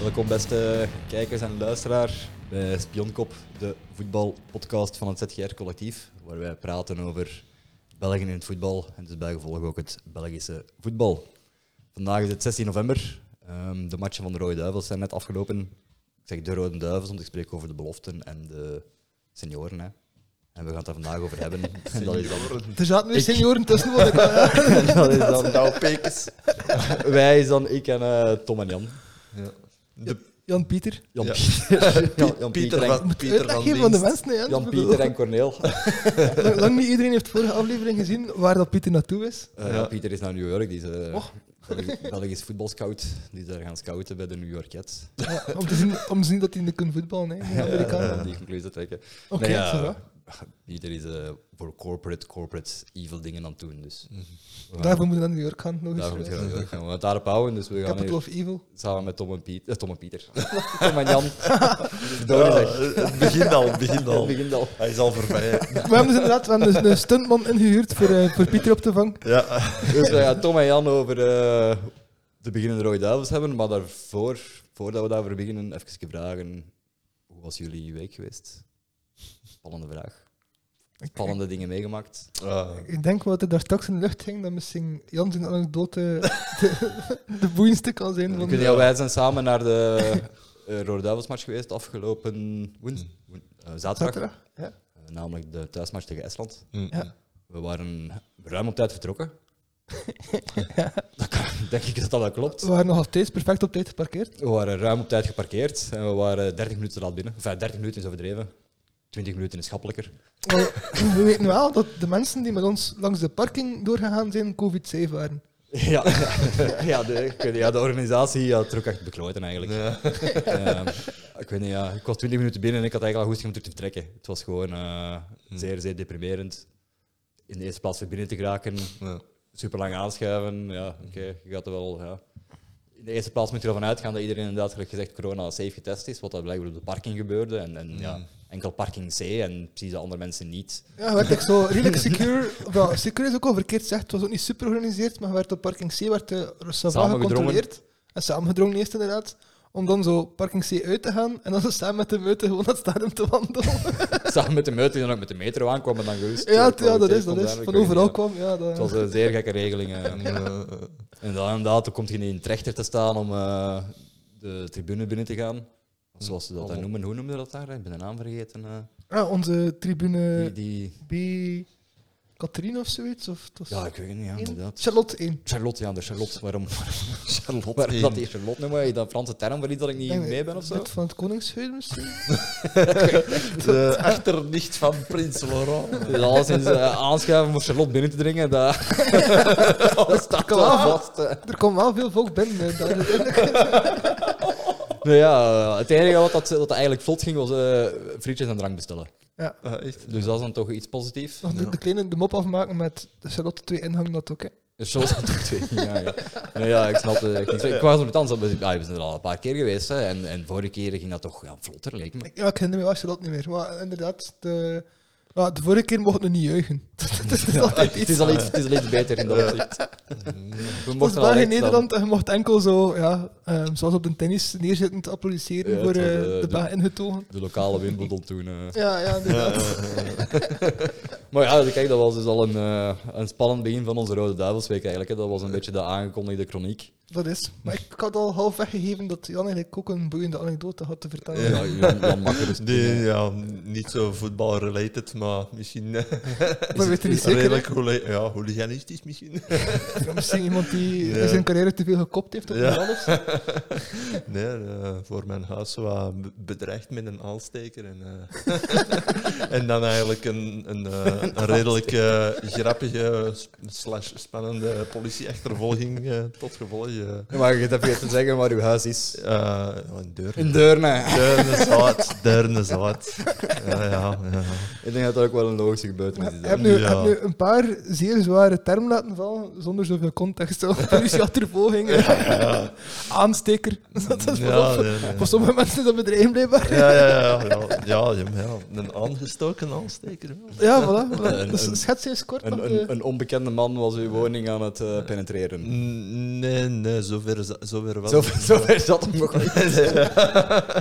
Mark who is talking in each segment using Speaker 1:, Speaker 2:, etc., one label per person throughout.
Speaker 1: Welkom, beste kijkers en luisteraar bij Spionkop, de voetbalpodcast van het ZGR Collectief, waar wij praten over België in het voetbal en dus bijgevolg ook het Belgische voetbal. Vandaag is het 16 november. Ehm, de matchen van de Rode Duivels zijn net afgelopen. Ik zeg de Rode Duivels, want ik spreek over de beloften en de senioren. Hè. En we gaan het daar vandaag over hebben. En dat is dan
Speaker 2: Er zaten weer senioren tussen. wat ik al-
Speaker 1: en dat is dan Wij is dan ik en eh, Tom en Jan.
Speaker 2: Jan Pieter.
Speaker 1: Jan,
Speaker 3: Ja.
Speaker 1: Pieter, Jan, Jan
Speaker 3: Pieter
Speaker 1: Pieter, en,
Speaker 3: van, Pieter van
Speaker 2: Uitleg geven van de
Speaker 3: Dienst.
Speaker 2: mensen. hè, Jens.
Speaker 1: Jan
Speaker 2: Ik bedoel,
Speaker 1: Pieter en Corneel.
Speaker 2: lang- Lang niet iedereen heeft vorige aflevering gezien waar dat Pieter naartoe is.
Speaker 1: Eh, Jan Pieter is naar New York. Die is eh,
Speaker 2: Och.
Speaker 1: Belgisch- Belgisch voetbalscout. Die is daar gaan scouten bij de New York Jets. Eh,
Speaker 2: Ja, om, te zien, om te zien dat hij niet kan voetballen. Hè, de Amerikanen.
Speaker 1: Om die conclusie te trekken.
Speaker 2: Oké,
Speaker 1: Nee, ja,
Speaker 2: ça va.
Speaker 1: Pieter is eh, voor corporate, corporate evil dingen aan het doen. Dus we gaan-
Speaker 2: Mhm. Daarvoor moeten we naar New York gaan. Nog
Speaker 1: daarvoor
Speaker 2: eens.
Speaker 1: moeten
Speaker 2: eh,
Speaker 1: we naar New York gaan. We gaan het daarop houden. Dus we gaan
Speaker 2: Capital
Speaker 1: hier
Speaker 2: of Evil.
Speaker 1: samen met Tom en, Piet, eh, Tom en Pieter. Tom en Jan. Door is echt.
Speaker 3: Ja, het begint al, het begint
Speaker 1: Het
Speaker 3: al.
Speaker 1: begint al.
Speaker 3: Hij is al voorbij.
Speaker 2: We hebben dus inderdaad we hebben dus een stuntman ingehuurd voor, eh, voor Pieter op te vangen.
Speaker 3: Ja,
Speaker 1: Dus we gaan Tom en Jan over eh, de beginnende Rode Duivels hebben. Maar daarvoor, voordat we daarvoor beginnen, even vragen. Hoe was jullie week geweest? Spannende vraag. Spannende dingen meegemaakt.
Speaker 3: Ah,
Speaker 2: Ik denk wat er daar straks in de lucht ging, dat misschien Jan zijn anekdote de, de boeiendste kan zijn.
Speaker 1: Ik
Speaker 2: Van,
Speaker 1: weet niet, wij zijn samen naar de eh, Rode Duivelsmatch geweest afgelopen woens, woen- eh, zaterdag.
Speaker 2: Hmm. Zaterdag, ja.
Speaker 1: Eh, namelijk de thuismatch tegen Estland.
Speaker 3: Mm,
Speaker 2: Ja.
Speaker 1: We waren ruim op tijd vertrokken. Dat kan, denk ik dat dat wel klopt.
Speaker 2: We waren nog altijd perfect op tijd geparkeerd.
Speaker 1: We waren ruim op tijd geparkeerd en we waren 30 minuten laat binnen. Enfin, 30 minuten is overdreven. 20 minuten is schappelijker.
Speaker 2: Maar Eh, we weten wel dat de mensen die met ons langs de parking doorgegaan zijn, covid-safe waren.
Speaker 1: Ja, ja, de, ik weet niet, ja, de organisatie ja, trok echt bekloten eigenlijk. Ehm, ik weet niet, ja, ik was 20 minuten binnen en ik had eigenlijk al goed om terug te vertrekken. Het was gewoon eh, zeer, zeer deprimerend. In de eerste plaats weer binnen te geraken,
Speaker 3: ja.
Speaker 1: super lang aanschuiven. Ja, oké, je gaat er wel. Ja. In de eerste plaats moet je ervan uitgaan dat iedereen inderdaad, gelijk gezegd, corona safe getest is. Wat dat blijkbaar op de parking gebeurde. En, en ja, enkel parking C en precies de andere mensen niet.
Speaker 2: Ja, werd ik zo redelijk secure. Of wel, secure is ook al verkeerd gezegd. Het was ook niet super georganiseerd, maar werd op parking C werd de Rossava
Speaker 1: Samengedrongen.
Speaker 2: gecontroleerd. En samengedrongen eerst inderdaad. Om dan zo parking C uit te gaan en dan zo samen met de meute gewoon naar het stadion te wandelen.
Speaker 1: Samen met de meute die dan ook met de metro aankwam en dan gerust.
Speaker 2: ja,
Speaker 1: eh,
Speaker 2: t- ja, dat is, dat
Speaker 1: kwam
Speaker 2: is.
Speaker 1: daar, ik
Speaker 2: Van
Speaker 1: weet niet,
Speaker 2: overal
Speaker 1: ja.
Speaker 2: kwam. Ja, dat,
Speaker 1: Het was een zeer gekke regeling. eh.
Speaker 3: En, eh,
Speaker 1: En dan inderdaad, dan komt je niet in het rechter te staan om eh, de tribune binnen te gaan. Zoals ze dat daar noemen. Hoe noemden ze dat daar? Ik ben de naam vergeten. eh.
Speaker 2: Ah, onze tribune
Speaker 1: die, die...
Speaker 2: B. Catherine of zoiets? Of, het was
Speaker 1: Ja, ik weet het niet, ja,
Speaker 2: één?
Speaker 1: inderdaad.
Speaker 2: Charlotte 1.
Speaker 1: Charlotte, ja, de Charlotte. Waarom, waarom
Speaker 3: Charlotte.
Speaker 1: waarom dat
Speaker 3: één.
Speaker 1: die Charlotte noemen? Is dat een Franse term voor iets dat ik niet mee ben of zo?
Speaker 2: eh, Van het Koningshuis misschien?
Speaker 3: De achternicht van Prins Laurent.
Speaker 1: Dus alles is eh, aanschuiven om Charlotte binnen te dringen. Dat, dat staat wel
Speaker 2: Ah.
Speaker 1: vast. eh.
Speaker 2: Er kwam wel veel volk binnen. eh, daar.
Speaker 1: Nou ja, het enige wat, dat, dat eigenlijk vlot ging was eh, frietjes en drank bestellen.
Speaker 2: Ja.
Speaker 3: Ah, echt?
Speaker 1: Dus dat is dan toch iets positiefs.
Speaker 2: Nog de, de kleine de mop afmaken met de Charlotte 2 inhang dat ook. Hè.
Speaker 1: Charlotte had ook twee. Ja, ja. Nee, ja, ik snap het. echt niet. Ik was er met anders. op, Ja, we zijn er al een paar keer geweest. Hè, en, en vorige keer ging dat toch ja, vlotter, leek me.
Speaker 2: Ik- Ja, ik herinner me wel Charlotte niet meer. Maar inderdaad, de, ja, de vorige keer mochten we niet juichen. Het is altijd
Speaker 1: Het
Speaker 2: iets.
Speaker 1: is al iets, het is al iets beter in dat opzicht. We
Speaker 2: Het was
Speaker 1: mochten al
Speaker 2: België
Speaker 1: echt
Speaker 2: Nederland en je mocht enkel zo, ja, ehm, zoals op de tennis, neerzittend applaudisseren
Speaker 1: Ja,
Speaker 2: voor
Speaker 1: het was,
Speaker 2: eh,
Speaker 1: eh,
Speaker 2: de
Speaker 1: de-
Speaker 2: baan ingetogen.
Speaker 1: dan de lokale Wimbledon toen. eh.
Speaker 2: Ja, ja, inderdaad.
Speaker 1: Maar ja, dus kijk, dat was dus al een, eh, een spannend begin van onze Rode Duivelsweek eigenlijk. Hè. Dat was een beetje de aangekondigde chroniek.
Speaker 2: Dat is. Maar ik had al half weggegeven dat Jan eigenlijk ook een boeiende anekdote had te vertellen.
Speaker 1: Ja, Jan, Jan mag er dus
Speaker 3: Die, ja, niet zo voetbal-related, maar misschien eh,
Speaker 2: maar we weten niet zeker.
Speaker 3: redelijk hooli- ja, hooliganistisch misschien.
Speaker 2: hè. Ja, Misschien iemand die
Speaker 3: Ja.
Speaker 2: in zijn carrière te veel gekopt heeft op
Speaker 3: Ja.
Speaker 2: de of zo.
Speaker 3: Nee, eh, voor mijn huis wat be- bedreigd met een aansteker. En, eh, en dan eigenlijk een, een, eh, een redelijk eh, grappige s- slash spannende politieachtervolging eh, tot gevolg. eh.
Speaker 1: Maar je hebt even te zeggen waar uw huis is.
Speaker 3: Eh, ja, een deur.
Speaker 1: In Deurne.
Speaker 3: Deurne zat, deurne zat. Ja, ja, ja.
Speaker 1: Ik denk dat dat ook wel een logische gebeurtenis is.
Speaker 2: Ik
Speaker 1: hè.
Speaker 2: heb nu,
Speaker 3: Ja.
Speaker 2: heb nu een paar zeer zware termen laten vallen, zonder zoveel context. Zo, Politieachtervolging, ja. aansteker. Dat is voor-
Speaker 3: Ja,
Speaker 2: voor,
Speaker 3: nee, nee.
Speaker 2: voor sommige mensen is dat bedrijf blijkbaar.
Speaker 3: Ja, ja, ja, ja, ja, Jim, ja. Een aangestoken aansteker. wel.
Speaker 2: Ja, voilà. voilà.
Speaker 1: Een-
Speaker 2: Dus
Speaker 1: een-
Speaker 2: schets eens kort.
Speaker 1: Een,
Speaker 2: want,
Speaker 1: een,
Speaker 2: eh,
Speaker 1: een onbekende man was uw woning aan het eh, penetreren.
Speaker 3: N- Nee, nee, zover, is dat- zover was
Speaker 1: Zo,
Speaker 3: het.
Speaker 1: zover zat hem nog niet.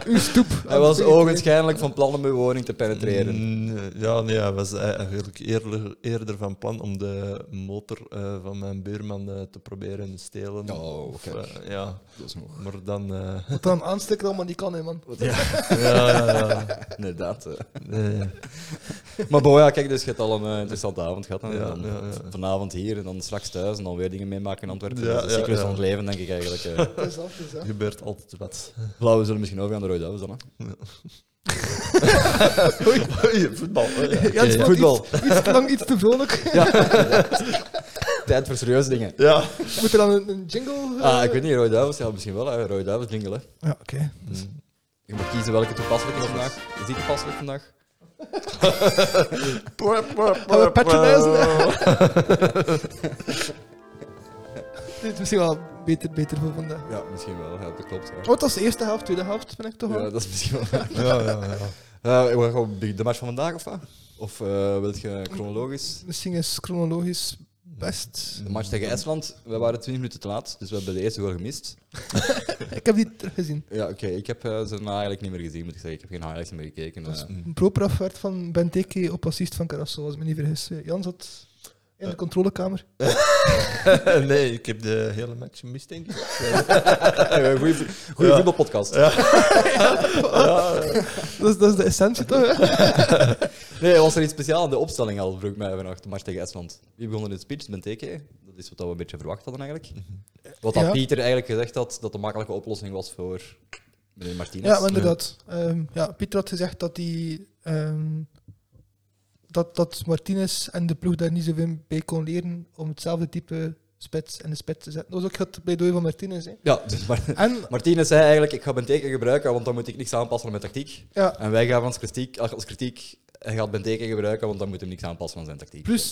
Speaker 2: uw stoep.
Speaker 1: Hij was ogenschijnlijk van plan om uw woning te penetreren.
Speaker 3: Mm, Ja, nee, hij was eigenlijk eerder, eerder van plan om de motor eh, van mijn buurman eh, te proberen te stelen.
Speaker 1: Oh,
Speaker 3: Of,
Speaker 1: kijk.
Speaker 3: eh, ja,
Speaker 1: Dat is nog.
Speaker 3: maar dan... eh,
Speaker 2: Wat dan aansteker allemaal niet kan, hè, man.
Speaker 3: ja, ja, ja.
Speaker 1: Inderdaad. eh.
Speaker 3: Nee,
Speaker 1: Maar bon, ja, kijk, dus je hebt al een eh, interessante avond gehad. hè.
Speaker 3: Ja,
Speaker 1: Dan
Speaker 3: ja, ja.
Speaker 1: Vanavond hier en dan straks thuis en dan weer dingen meemaken in Antwerpen.
Speaker 3: Ja,
Speaker 1: dat is de
Speaker 3: ja,
Speaker 1: cyclus
Speaker 3: ja.
Speaker 1: van het leven, denk ik eigenlijk. eh.
Speaker 2: Dat is dat, dat is dat.
Speaker 3: gebeurt altijd wat.
Speaker 1: Blauw, we zullen misschien overgaan naar de Rode Duivels dan. Hè.
Speaker 3: Oei, voetbal. oh, ja.
Speaker 2: Ja, het is
Speaker 1: Ja,
Speaker 2: wel
Speaker 1: voetbal.
Speaker 2: Iets, iets te lang, iets te vrolijk.
Speaker 1: Tijd voor serieuze dingen.
Speaker 3: Ja.
Speaker 2: Moet er dan een, een jingle? eh?
Speaker 1: Ah, ik weet niet, Rode Duivels, ja, misschien wel. hè. Rode Duivels jingle, hè.
Speaker 2: Ja, oké.
Speaker 1: Je moet kiezen welke toepasselijk is vandaag. Is die toepasselijk vandaag?
Speaker 2: Gaan we patronizen? Dit is misschien wel beter, beter voor vandaag.
Speaker 1: Ja, misschien wel. Ja, dat klopt. ja.
Speaker 2: Oh, het was de eerste helft, tweede helft, ben ik toch
Speaker 1: Ja,
Speaker 2: al.
Speaker 1: Oh, dat is misschien wel.
Speaker 3: Ja, ja, ja.
Speaker 1: Eh, we gaan gewoon de match van vandaag of wat? Of eh wilt je chronologisch?
Speaker 2: Misschien is chronologisch best.
Speaker 1: De match tegen IJsland, we waren 20 minuten te laat, dus we hebben de eerste goal gemist.
Speaker 2: Ik heb die teruggezien.
Speaker 1: Ja, oké, ik heb eh, ze daarna eigenlijk niet meer gezien, moet ik zeggen. Ik heb geen highlights meer gekeken. eh.
Speaker 2: Een proper werd van Benteke op assist van Carrasso, als ik me niet vergis. Eh, Jan zat in de controlekamer.
Speaker 3: Nee, ik heb de hele match gemist, denk ik.
Speaker 1: Eh, Goeie goeie
Speaker 3: Ja.
Speaker 1: voetbalpodcast.
Speaker 2: Dat is, dat is de essentie toch? hè?
Speaker 1: Nee, was er iets speciaals aan de opstelling al, vroeg ik mij vannacht, de match tegen IJsland. Wie begon in het speech? Benteke. Dat is wat we een beetje verwacht hadden eigenlijk. Wat dat
Speaker 2: Mhm. Ja.
Speaker 1: Pieter eigenlijk gezegd had, dat de makkelijke oplossing was voor meneer Martinez.
Speaker 2: Ja, maar inderdaad. Ehm, ja, Pieter had gezegd dat, die, ehm, dat, dat Martinez en de ploeg daar niet zoveel bij kon leren om hetzelfde type spits en de spits te zetten. Dat was ook het pleidooi van Martinez. Hè.
Speaker 1: Ja, dus maar,
Speaker 2: En
Speaker 1: Martinez zei eigenlijk, ik ga Benteke gebruiken, want dan moet ik niks aanpassen met tactiek.
Speaker 2: ja,
Speaker 1: En wij gaven ons kritiek, als kritiek, hij gaat Benteke gebruiken, want dan moet hij niks aanpassen aan zijn tactiek.
Speaker 2: plus,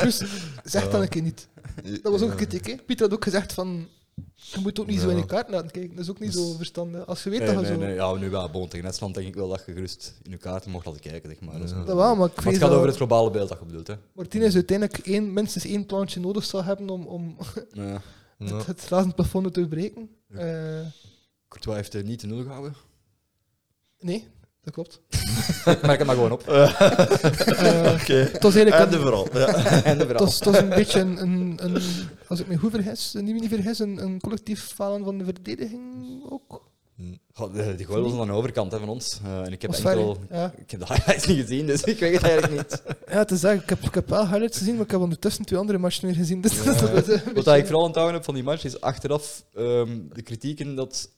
Speaker 2: plus zeg dan een keer niet. Dat was ook een kritiek. Hè. Pieter had ook gezegd van. Je moet ook niet zo in je
Speaker 3: Ja.
Speaker 2: kaart laten kijken. Dat is ook niet zo verstandig. Als je weet
Speaker 1: Dus- Nee,
Speaker 2: dat je
Speaker 1: nee,
Speaker 2: zo.
Speaker 1: nee. Ja, nu wel, bon, tegen Estland denk ik wel dat je gerust in je kaarten mocht laten kijken, zeg maar. Dus-
Speaker 2: Dat wel, maar ik
Speaker 1: Maar
Speaker 2: vrees
Speaker 1: het gaat
Speaker 2: dat
Speaker 1: over het globale beeld dat je bedoelt, hè.
Speaker 2: Martinez uiteindelijk één, minstens één plantje nodig zal hebben om, om
Speaker 1: Ja.
Speaker 3: Ja.
Speaker 2: het, het razend plafond te doorbreken. Eh,
Speaker 1: Courtois heeft eh, niet de nul gehouden.
Speaker 2: nee, dat klopt.
Speaker 1: Ik merk het maar gewoon op.
Speaker 2: Eh,
Speaker 3: Oké.
Speaker 2: het was eigenlijk
Speaker 3: Einde
Speaker 2: een,
Speaker 3: vooral. Ja.
Speaker 1: En de
Speaker 2: het
Speaker 1: verhaal.
Speaker 2: was, het was een beetje een, een, een- als ik me goed vergis, niet meer niet vergis, een, een collectief falen van de verdediging ook.
Speaker 1: Goh, de- die goal was aan de overkant hè, van ons. Eh, en ik heb
Speaker 2: Was
Speaker 1: enkel...
Speaker 2: ver, hè? ja.
Speaker 1: Ik heb de highlights niet gezien, dus ik weet het eigenlijk niet.
Speaker 2: ja, het is eigenlijk, ik heb, ik heb wel highlights gezien, maar ik heb ondertussen twee andere matchen weer gezien. Dus dat was een
Speaker 1: Wat
Speaker 2: beetje-
Speaker 1: ik vooral onthouden heb van die match is achteraf ehm, de kritieken dat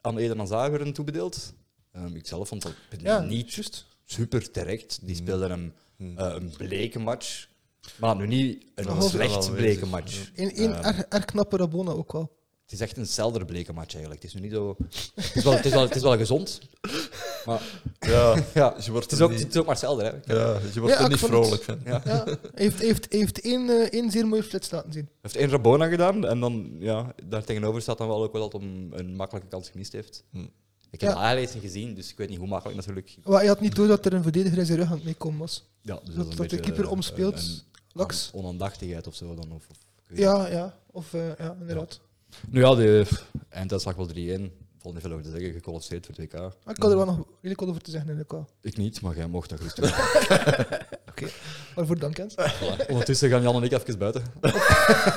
Speaker 1: aan Eden Hazard werden toebedeeld. Ehm ik zelf vond dat
Speaker 2: ja,
Speaker 1: niet
Speaker 2: juist.
Speaker 1: super terecht. Die speelden een,
Speaker 3: Hmm.
Speaker 1: eh, een bleke match. Maar nu niet een
Speaker 2: Oh,
Speaker 1: slecht
Speaker 3: wel
Speaker 1: bleke
Speaker 3: aanwezig.
Speaker 1: match.
Speaker 2: Eén één
Speaker 1: Ehm.
Speaker 2: erg, erg knappe Rabona ook wel.
Speaker 1: Het is echt een zelder bleke match eigenlijk. Het is nu niet zo... Het is wel, het is wel, het is wel gezond. Maar
Speaker 3: ja,
Speaker 1: ja,
Speaker 3: je wordt
Speaker 1: het is
Speaker 3: er
Speaker 1: ook, het
Speaker 3: niet,
Speaker 1: is ook maar zelder. Hè. Ik heb-
Speaker 3: ja, je wordt
Speaker 2: Ja,
Speaker 3: er
Speaker 2: ik
Speaker 3: niet
Speaker 2: vond het-
Speaker 3: vrolijk van.
Speaker 2: Ja, hij heeft, heeft, heeft één, eh, één zeer mooie flits laten zien.
Speaker 1: Hij heeft één Rabona gedaan en dan, ja, daar tegenover staat dan wel ook wel dat hij een makkelijke kans gemist heeft.
Speaker 3: Hmm.
Speaker 1: Mm. Ik heb
Speaker 2: Ja.
Speaker 1: de highlights niet gezien, dus ik weet niet hoe makkelijk natuurlijk.
Speaker 2: Maar hij had niet door dat er een verdediger in zijn rug aan het meekomen was.
Speaker 1: Ja, dus
Speaker 2: dat
Speaker 1: is een
Speaker 2: dat de
Speaker 1: beetje
Speaker 2: keeper
Speaker 1: een-
Speaker 2: omspeelt.
Speaker 1: een- een
Speaker 2: Laks.
Speaker 1: on- onaandachtigheid of zo dan. Of, of- ik weet
Speaker 2: Ja, ja. Of, eh, ja, inderdaad.
Speaker 1: niet. Nu ja, de einduitslag wel 3-1. Valt niet veel over te zeggen, gekwalificeerd voor het WK.
Speaker 2: Maar Ah, ik had er wel nog redelijk wat over te zeggen eigenlijk wel.
Speaker 1: Ik niet, maar jij mocht dat gerust doen.
Speaker 2: Waarvoor dank, Jens.
Speaker 1: Voilà. Ondertussen gaan Jan en ik even buiten.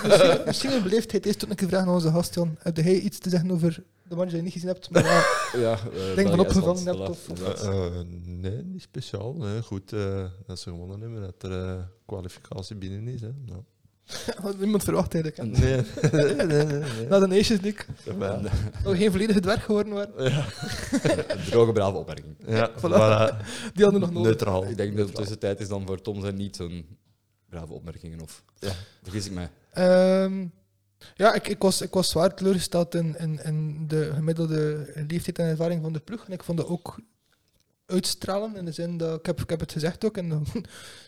Speaker 2: Misschien, misschien een beleefdheid. Eerst toen ik een vraag aan onze gast, Jan. Heb jij iets te zeggen over de match die je niet gezien hebt? Maar ja,
Speaker 1: Ja,
Speaker 2: Denk van opgevangen hebt of-
Speaker 3: Eh, eh, nee, niet speciaal. Nee, goed eh, dat ze gewonnen hebben, dat er eh, kwalificatie binnen is. Hè. Ja.
Speaker 2: had niemand verwacht eigenlijk. hè.
Speaker 3: Nee, nee, nee. nee,
Speaker 2: Na de Nations League.
Speaker 3: Ja,
Speaker 2: Dat we geen volledige dwerg geworden waren.
Speaker 3: ja.
Speaker 1: Eh, Een droge, brave opmerking.
Speaker 3: ja
Speaker 2: Voilà.
Speaker 3: voilà.
Speaker 2: Die hadden nog nodig.
Speaker 3: Neutraal.
Speaker 1: Ik denk dat het tussentijd is dan voor Tom zijn niet zo'n brave opmerkingen. Of
Speaker 3: Ja.
Speaker 1: vergis ik mij.
Speaker 2: Ehm, ja, ik, ik, was, ik was zwaar teleurgesteld in, in, in de gemiddelde leeftijd en ervaring van de ploeg. En ik vond dat ook uitstralen. In de zin dat ik heb, ik heb het gezegd ook. En dan-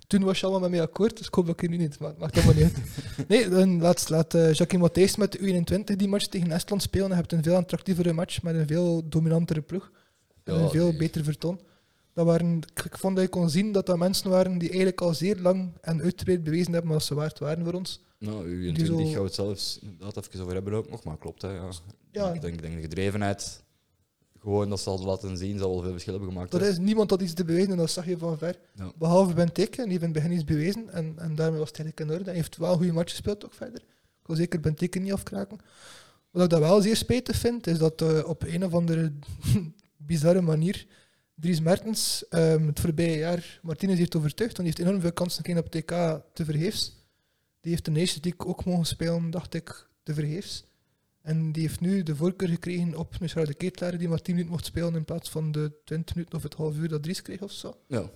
Speaker 2: toen was je allemaal met mij akkoord. Dus ik hoop dat ik je nu niet. Maar het maakt allemaal niet uit. Nee, dan laat, laat eh Jacques Matthijs met de U21 die match tegen Estland spelen. Dan heb je een veel attractievere match met een veel dominantere ploeg. En
Speaker 1: Ja,
Speaker 2: een veel
Speaker 1: nee.
Speaker 2: beter vertoon. Dat waren, ik, ik vond dat je kon zien dat dat mensen waren die eigenlijk al zeer lang en uitgebreid bewezen hebben wat ze waard waren voor ons.
Speaker 1: Nou, u
Speaker 2: Die
Speaker 1: 21
Speaker 2: zo-
Speaker 1: gaan we het zelfs inderdaad even over hebben ook nog, maar klopt. Hè, ja.
Speaker 2: Ja.
Speaker 1: Ik denk, ik denk de gedrevenheid, gewoon dat ze hadden laten zien, zal wel veel verschil hebben gemaakt.
Speaker 2: Dat
Speaker 1: hè.
Speaker 2: is niemand had iets te bewijzen en dat zag je van ver.
Speaker 1: Ja.
Speaker 2: Behalve Ben Teke, en die heeft in het begin iets bewezen en, en daarmee was het eigenlijk in orde. Hij heeft wel een goede match gespeeld ook verder. Ik wil zeker Ben Teke niet afkraken. Wat ik dat wel zeer spijtig vind, is dat eh, op een of andere bizarre manier Dries Mertens ehm, het voorbije jaar Martinez heeft overtuigd, want die heeft enorm veel kansen gekregen op TK te vergeefs. Die heeft de Nations League ook mogen spelen, dacht ik, te vergeefs. En die heeft nu de voorkeur gekregen op Michel de Ketelaar, die maar 10 minuten mocht spelen in plaats van de 20 minuten of het half uur dat Dries kreeg of zo.
Speaker 1: Ja.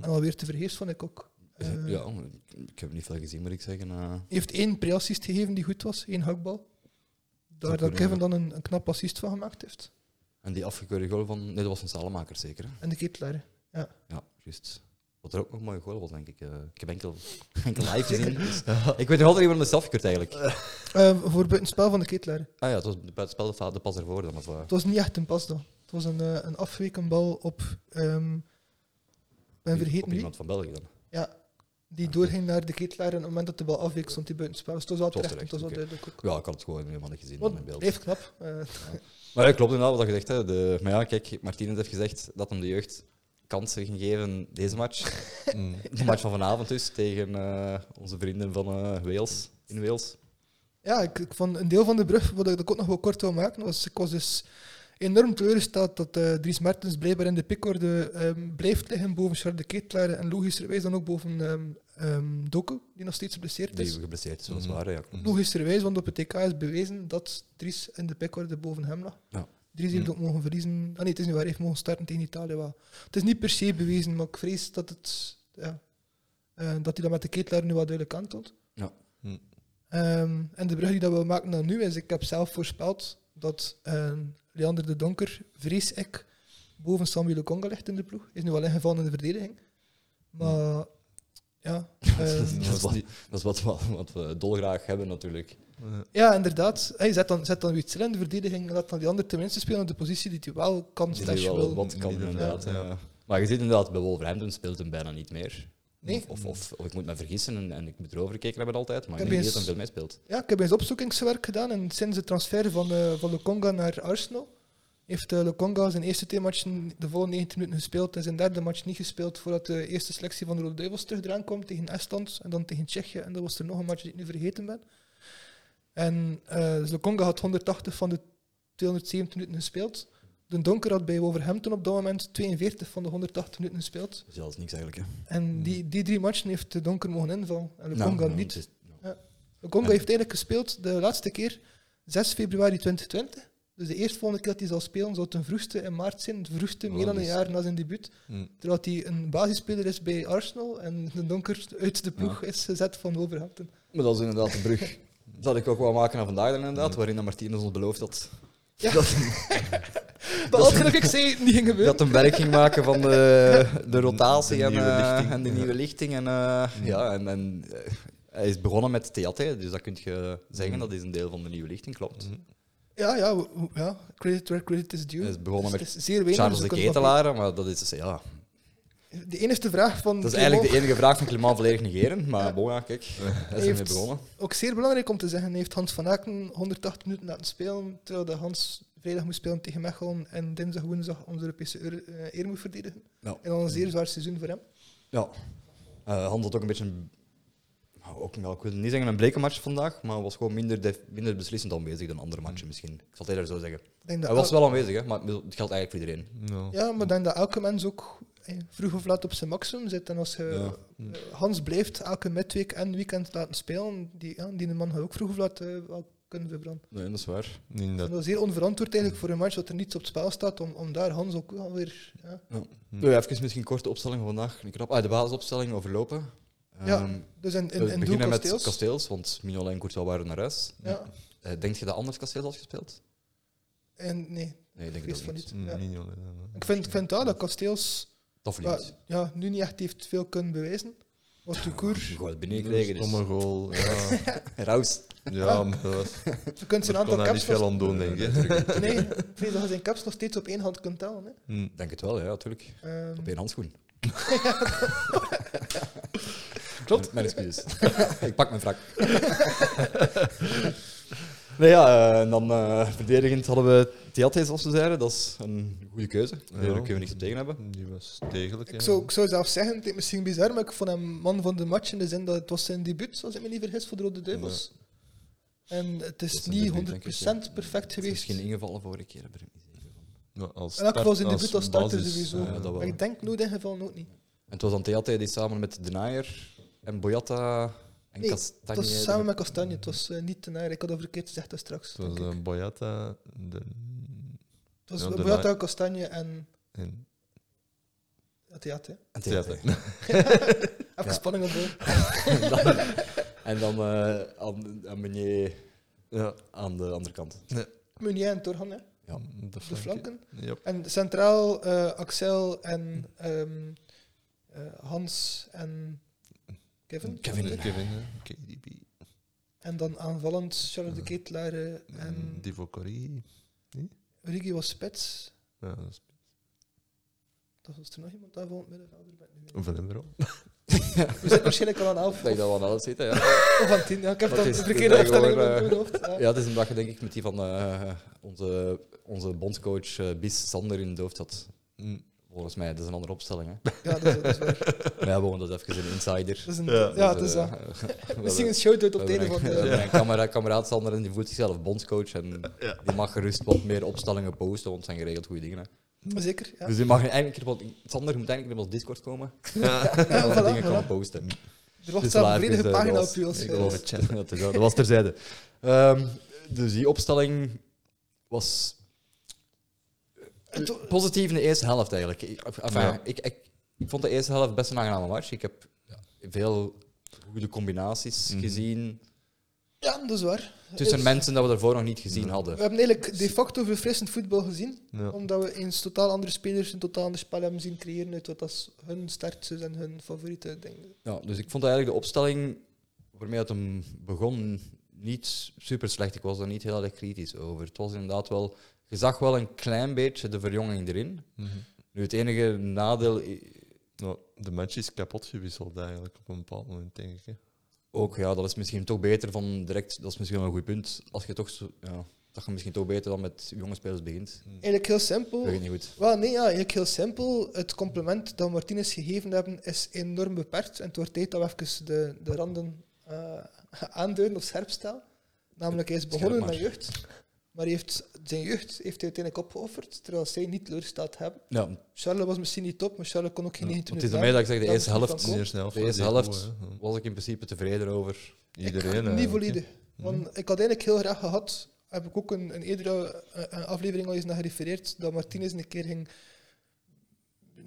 Speaker 2: En alweer te vergeefs vond ik ook. Eh,
Speaker 1: ja, maar ik heb niet veel gezien, moet ik zeggen. eh.
Speaker 2: Hij heeft één pre-assist gegeven die goed was, één hakbal.
Speaker 1: Dat
Speaker 2: Daar dat
Speaker 1: kunnen,
Speaker 2: Kevin dan een, een knap assist van gemaakt heeft.
Speaker 1: en die afgekeurde goal van, nee, dat was een Salemaker zeker. Hè?
Speaker 2: En de Ketelaar. hè.
Speaker 1: Ja, juist. Wat er ook nog een mooie goal was, denk ik. eh. ik heb enkel, enkel live gezien. dus ik weet nog altijd niet wat het is afgekeurd eigenlijk.
Speaker 2: Eh, voor buiten spel van de Ketelaar.
Speaker 1: Ah ja, het was het spel de, de pas ervoor dan. Of, eh.
Speaker 2: Het was niet echt een pas dan. Het was een, eh, een afweken bal op. ehm, ik ben vergeten
Speaker 1: op
Speaker 2: wie.
Speaker 1: iemand van België dan.
Speaker 2: Die doorging naar de ketelaar en op het moment dat de bal afweek stond hij buiten spel. Dus het was wel
Speaker 1: Het was
Speaker 2: terecht, het was wel
Speaker 1: terecht,
Speaker 2: duidelijk ook.
Speaker 1: Ja, ik had het gewoon helemaal niet gezien in
Speaker 2: Want
Speaker 1: mijn
Speaker 2: het
Speaker 1: beeld.
Speaker 2: bleef knap. Eh,
Speaker 1: Maar ja, klopt inderdaad wat je zegt. Hè. De, maar ja, kijk, Martinez heeft gezegd dat hem de jeugd kansen ging geven deze match.
Speaker 3: Mm.
Speaker 1: De match van vanavond dus, tegen eh, onze vrienden van eh, Wales, in Wales.
Speaker 2: ja, ik, ik vond een deel van de brug, wat ik dat ik ook nog wel kort wil maken, was ik was dus enorm teleurgesteld dat eh, Dries Mertens blijkbaar in de pickorde ehm, blijft liggen boven Charles de Ketelaar en logischerwijs dan ook boven ehm ehm, Doku, die nog steeds geblesseerd
Speaker 1: Die
Speaker 2: is.
Speaker 1: geblesseerd is, dat is
Speaker 3: Mhm.
Speaker 1: waar. hè, Ja.
Speaker 2: Logischerwijs, want op het TK is bewezen dat Dries in de pickorde boven hem lag.
Speaker 1: Ja.
Speaker 2: Dries heeft
Speaker 3: Hm.
Speaker 2: ook mogen verliezen. Ah nee, het is niet waar, hij heeft mogen starten tegen Italië wel. Het is niet per se bewezen, maar ik vrees dat, het, ja, eh, dat hij dat met de ketelaar nu wel duidelijk aantoont.
Speaker 1: Ja.
Speaker 3: Hm.
Speaker 2: Ehm, en de brug die dat we maken naar nu is, ik heb zelf voorspeld dat eh, Leander de Donker, vrees ik, boven Samuel Conga ligt in de ploeg. Hij is nu wel ingevallen in de verdediging. Maar ja, ehm,
Speaker 1: Dat is wat, dat is wat, wat, wat we dolgraag hebben natuurlijk.
Speaker 3: Ja.
Speaker 2: Ja, inderdaad. Hey, zet dan, zet dan Witzel in de verdediging en laat dan die ander tenminste spelen op de positie die hij wel kan
Speaker 1: Die
Speaker 2: slash
Speaker 1: wel
Speaker 2: wil.
Speaker 1: wat kan inderdaad.
Speaker 3: Middenveld, ja.
Speaker 1: ja. Maar je ziet inderdaad, bij Wolverhampton speelt hem bijna niet meer.
Speaker 2: Nee.
Speaker 1: Of, of, of ik moet me vergissen en, en ik moet erover gekeken hebben altijd, maar
Speaker 2: Heb
Speaker 1: ik denk
Speaker 2: je
Speaker 1: niet dat
Speaker 2: eens-
Speaker 1: hij veel meespeelt.
Speaker 2: Ja, ik heb eens opzoekingswerk gedaan en sinds de transfer van, eh van Lokonga naar Arsenal heeft eh, Lokonga zijn eerste twee matchen de volle 19 minuten gespeeld en zijn derde match niet gespeeld voordat de eerste selectie van de Rode Duivels terug eraan kwam tegen Estland en dan tegen Tsjechië en dat was er nog een match die ik nu vergeten ben. En eh dus Lokonga had 180 van de 270 minuten gespeeld. De Donker had bij Wolverhampton op dat moment 42 van de 180 minuten gespeeld.
Speaker 1: Zelfs niks eigenlijk. Hè.
Speaker 2: En die, die drie matchen heeft de Donker mogen invallen en Lokonga
Speaker 1: Nou,
Speaker 2: niet.
Speaker 1: het is- nou,
Speaker 2: Congo heeft eigenlijk gespeeld de laatste keer 6 februari 2020. Dus de eerstvolgende keer dat hij zal spelen zou ten vroegste in maart zijn. Het vroegste,
Speaker 1: Oh,
Speaker 2: meer dan een
Speaker 1: dus-
Speaker 2: jaar na zijn debuut.
Speaker 3: Mm.
Speaker 2: Terwijl hij een basisspeler is bij Arsenal en de donker uit de ploeg is gezet van Wolverhampton.
Speaker 1: Maar dat is inderdaad de brug. Dat ik ook wel maken naar vandaag dan inderdaad, waarin dat Martinez ons beloofd had
Speaker 2: Ja.
Speaker 1: dat,
Speaker 2: Maar als ik zei, het niet ging gebeuren.
Speaker 1: dat een werk ging maken van de, de rotatie
Speaker 3: De
Speaker 1: en,
Speaker 3: nieuwe
Speaker 1: eh,
Speaker 3: lichting.
Speaker 1: en de
Speaker 3: Ja.
Speaker 1: nieuwe lichting. En, eh, ja, en, en, eh, hij is begonnen met theater, hè, dus dat kun je zeggen,
Speaker 3: Mhm.
Speaker 1: dat is een deel van de nieuwe lichting, klopt.
Speaker 2: Ja, ja, w- w- ja, credit where credit is due.
Speaker 1: Hij is begonnen
Speaker 2: Dus
Speaker 1: met
Speaker 2: is zeer weinig,
Speaker 1: Charles
Speaker 2: dus
Speaker 1: de
Speaker 2: we kunnen
Speaker 1: Ketelaar, maar dat is, dus, ja,
Speaker 2: nog- De enige vraag van
Speaker 1: dat is
Speaker 2: Clément-
Speaker 1: eigenlijk de enige vraag van Clement volledig negeren. Maar
Speaker 2: Ja.
Speaker 1: bon, ja, kijk, hij is
Speaker 2: Heeft-
Speaker 1: ermee begonnen.
Speaker 2: Ook zeer belangrijk om te zeggen, heeft Hans van Aken 180 minuten laten spelen, terwijl de Hans vrijdag moest spelen tegen Mechelen en dinsdag, woensdag onze Europese eer, eh, eer moet verdedigen.
Speaker 1: Ja.
Speaker 2: En dan een zeer zwaar seizoen voor hem.
Speaker 1: Ja. Eh, Hans had ook een beetje. een- nou, ook, wel, ik wil niet zeggen een bleke match vandaag, maar was gewoon minder, def- minder beslissend aanwezig dan andere
Speaker 2: Mhm.
Speaker 1: matchen misschien. Ik zal het eerder zo zeggen.
Speaker 2: Ik Denk dat
Speaker 1: Hij was
Speaker 2: el-
Speaker 1: wel aanwezig, hè, maar het geldt eigenlijk voor iedereen.
Speaker 3: Ja.
Speaker 2: Ja, maar ik denk dat elke mens ook eh, vroeg of laat op zijn maximum zit. En als je
Speaker 3: Ja.
Speaker 2: eh, Hans blijft elke midweek en weekend laten spelen, die, ja, die man gaat ook vroeg of laat eh, wel kunnen verbranden.
Speaker 1: Nee, dat is waar.
Speaker 3: In
Speaker 2: En
Speaker 3: dat,
Speaker 2: dat is zeer onverantwoord eigenlijk voor een match dat er niets op het spel staat, om, om daar Hans ook wel weer... Ja.
Speaker 1: Hm. Doe even misschien kort de opstelling van vandaag. Een Knap. Ah, de basisopstelling overlopen.
Speaker 2: Ja,
Speaker 1: Ehm,
Speaker 2: Dus in, in,
Speaker 1: we
Speaker 2: in, doel
Speaker 1: beginnen met
Speaker 2: Kasteels.
Speaker 1: kasteels, want Mignola en Courtois waren naar huis.
Speaker 2: ja.
Speaker 1: Eh, denk je dat anders kasteels had gespeeld?
Speaker 2: En nee,
Speaker 1: Nee, ik denk
Speaker 2: Vrees
Speaker 1: het
Speaker 2: van
Speaker 1: ook
Speaker 2: niet.
Speaker 1: niet.
Speaker 2: Ja.
Speaker 3: mm, Niet, hoor, ja.
Speaker 2: Ik vind, ik vind wel dat Kasteels
Speaker 1: Tof
Speaker 2: ja,
Speaker 1: nieuws.
Speaker 2: ja, nu niet echt heeft veel kunnen bewijzen. Was de koers.
Speaker 1: Je gaat binnenkregen, dus.
Speaker 3: Stomme goal. Ja,
Speaker 1: Raus.
Speaker 3: ja maar dat-
Speaker 2: Je kunt zijn
Speaker 3: daar
Speaker 2: aantal
Speaker 3: kon hij
Speaker 2: caps
Speaker 3: niet veel
Speaker 2: nog,
Speaker 3: aan doen, denk ik.
Speaker 2: nee, ik vrees dat je zijn caps nog steeds op één hand kunt tellen. Hè.
Speaker 3: Hm.
Speaker 1: Denk het wel, ja, natuurlijk.
Speaker 2: Ehm,
Speaker 1: Op één handschoen.
Speaker 2: Klopt.
Speaker 1: Mijn excuses. ik pak mijn wrak. nee, ja, eh, en dan eh, verdedigend hadden we Theates, zoals we zeiden. Dat is een goede keuze. Eh, Daar
Speaker 3: Ja.
Speaker 1: kunnen we niks op tegen hebben.
Speaker 3: Die was degelijk.
Speaker 2: ik,
Speaker 3: ja.
Speaker 2: zou, ik zou zelf zeggen, het is misschien bizar, maar ik vond hem man van de match in de zin dat het was zijn debuut, als ik me niet vergis, voor de Rode Duivels. En het is,
Speaker 1: Het is een
Speaker 2: niet
Speaker 1: debuut, denk ik,
Speaker 2: 100% perfect
Speaker 1: Het is
Speaker 2: geweest.
Speaker 1: misschien ingevallen vorige keer, daar ben ik niet zeker van.
Speaker 3: Ja, als
Speaker 2: In elk geval
Speaker 3: start-
Speaker 2: zijn debuut als starter
Speaker 3: basis,
Speaker 2: sowieso.
Speaker 1: ja,
Speaker 3: eh,
Speaker 1: dat wel.
Speaker 2: maar ik denk nooit in geval nooit niet.
Speaker 1: En het was dan Theates die samen met De Naaier en Boyata en
Speaker 2: Nee, Het
Speaker 1: Kastanje...
Speaker 2: was samen met Kastanje, het was eh, niet te naar. Ik had dat verkeerd gezegd daar straks.
Speaker 3: Het was
Speaker 2: denk ik.
Speaker 1: ehm,
Speaker 3: eh, Boyata de,
Speaker 2: Het
Speaker 3: ja,
Speaker 2: was
Speaker 3: de
Speaker 2: Boyata,
Speaker 3: Naai-
Speaker 2: Kastanje en
Speaker 3: en
Speaker 2: Atiate.
Speaker 1: En Theater.
Speaker 3: Theater.
Speaker 2: Even
Speaker 1: Ja.
Speaker 2: spanning op de-
Speaker 1: en dan, en dan eh, aan, aan meneer
Speaker 3: Ja,
Speaker 1: aan de andere kant.
Speaker 2: Meunier en Torhan, hè,
Speaker 1: Ja.
Speaker 3: de
Speaker 2: de flanken.
Speaker 3: Ja,
Speaker 2: En centraal eh, Axel en ehm, eh, Hans en Kevin.
Speaker 1: Kevin.
Speaker 3: Kevin, hè. KDB.
Speaker 2: En dan aanvallend Charles de Ketelaar eh,
Speaker 3: En
Speaker 2: en
Speaker 3: Divo Corrie.
Speaker 2: Rigi was spits.
Speaker 3: Ja, dat is
Speaker 2: Dat was er nog iemand daar van het middenveld. Ik ben het niet meer.
Speaker 3: Van hem erop.
Speaker 2: We zitten waarschijnlijk al aan elf
Speaker 1: Ik denk
Speaker 2: of,
Speaker 1: dat we aan alles zitten, ja.
Speaker 2: of aan tien. Ja, ik heb
Speaker 1: Dat
Speaker 2: dat de
Speaker 1: is-
Speaker 2: verkeerde
Speaker 1: dat is
Speaker 2: afstelling in
Speaker 1: gewoon, eh,
Speaker 2: mijn hoofd. Ja.
Speaker 1: Ja, het is omdat je denk ik met die van eh, onze, onze bondscoach eh, Bis Sander in het hoofd had.
Speaker 3: Hm.
Speaker 1: Volgens mij, dat is een andere opstelling. Hè?
Speaker 2: Ja, dat, is, dat is waar.
Speaker 1: maar ja, gewoon dat is even een insider.
Speaker 2: Dat is een,
Speaker 3: Ja,
Speaker 2: ja, het
Speaker 1: Dus,
Speaker 2: is
Speaker 1: eh,
Speaker 2: dat.
Speaker 1: we hebben-
Speaker 2: Misschien een shout-out op
Speaker 1: we
Speaker 2: de
Speaker 1: hebben
Speaker 2: ene van eh,
Speaker 1: een- we
Speaker 2: de...
Speaker 1: hebben Een camera, kameraad Sander en die voelt zichzelf bondscoach. En die mag gerust wat meer opstellingen posten, want het zijn geregeld goede dingen. Hè.
Speaker 2: Zeker, ja.
Speaker 1: Dus die mag eigenlijk een keer op- Sander moet eigenlijk op ons Discord komen.
Speaker 2: Ja,
Speaker 1: En
Speaker 2: voilà,
Speaker 1: wat dingen kan
Speaker 2: voilà.
Speaker 1: posten.
Speaker 2: Er lag
Speaker 1: Dus
Speaker 2: zelf een
Speaker 1: laag is,
Speaker 2: vredige
Speaker 1: eh,
Speaker 2: pagina
Speaker 1: dat
Speaker 2: op u als
Speaker 1: was-
Speaker 2: je...
Speaker 1: dat was- dat is- Dat was terzijde. Ehm, dus die opstelling was
Speaker 2: Het-
Speaker 1: positief in de eerste helft eigenlijk. Ik, enfin,
Speaker 3: Ja.
Speaker 1: ik, ik, ik vond de eerste helft best een aangename match. Ik heb veel goede combinaties
Speaker 3: Mhm.
Speaker 1: gezien
Speaker 2: Ja, dat is waar.
Speaker 1: tussen
Speaker 2: Eh,
Speaker 1: mensen dat we daarvoor nog niet gezien hadden.
Speaker 2: We hebben eigenlijk de facto verfrissend voetbal gezien.
Speaker 3: Ja.
Speaker 2: Omdat we eens totaal andere spelers een totaal ander spel hebben zien creëren uit wat als hun startjes en hun favoriete dingen.
Speaker 1: Ja, dus ik vond eigenlijk de opstelling waarmee het hem begon niet super slecht. Ik was er niet heel erg kritisch over. Het was inderdaad wel, je zag wel een klein beetje de verjonging erin.
Speaker 3: Mhm.
Speaker 1: Nu, het enige nadeel i-
Speaker 3: Nou, de match is kapot gewisseld eigenlijk op een bepaald moment, denk ik. hè.
Speaker 1: ook, ja, dat is misschien toch beter van direct, dat is misschien wel een goed punt. Als je toch, zo- ja, dat je misschien toch beter dan met jonge spelers begint.
Speaker 2: Eigenlijk heel
Speaker 1: Dat
Speaker 2: simpel.
Speaker 1: begint niet goed.
Speaker 2: Wel, nee, ja, eigenlijk heel simpel. Het compliment dat we Martinez gegeven hebben is enorm beperkt. En het wordt tijd dat we even de, de randen eh aanduiden of scherp stellen. Namelijk, hij is begonnen
Speaker 1: Scherp
Speaker 2: met
Speaker 1: maar.
Speaker 2: jeugd. Maar hij heeft, zijn jeugd heeft hij uiteindelijk opgeofferd, terwijl zij niet teleurgesteld hebben.
Speaker 1: Ja, want
Speaker 2: Charles was misschien niet top, maar Charles kon ook geen 19
Speaker 1: het is daarmee dat ik zeg, de
Speaker 2: Dat
Speaker 1: eerste
Speaker 2: is niet
Speaker 1: helft
Speaker 3: De eerste helft.
Speaker 1: De eerste
Speaker 3: was die
Speaker 1: helft.
Speaker 3: goed, hè.
Speaker 1: was ik in principe tevreden over. eh,
Speaker 3: Iedereen. eh,
Speaker 2: ik, niet
Speaker 3: eigenlijk,
Speaker 2: valide.
Speaker 3: hè.
Speaker 1: Mhm.
Speaker 2: Want ik had eigenlijk heel graag gehad, heb ik ook een, een eerdere eh, eh, aflevering al eens naar gerefereerd, dat Martinez een keer ging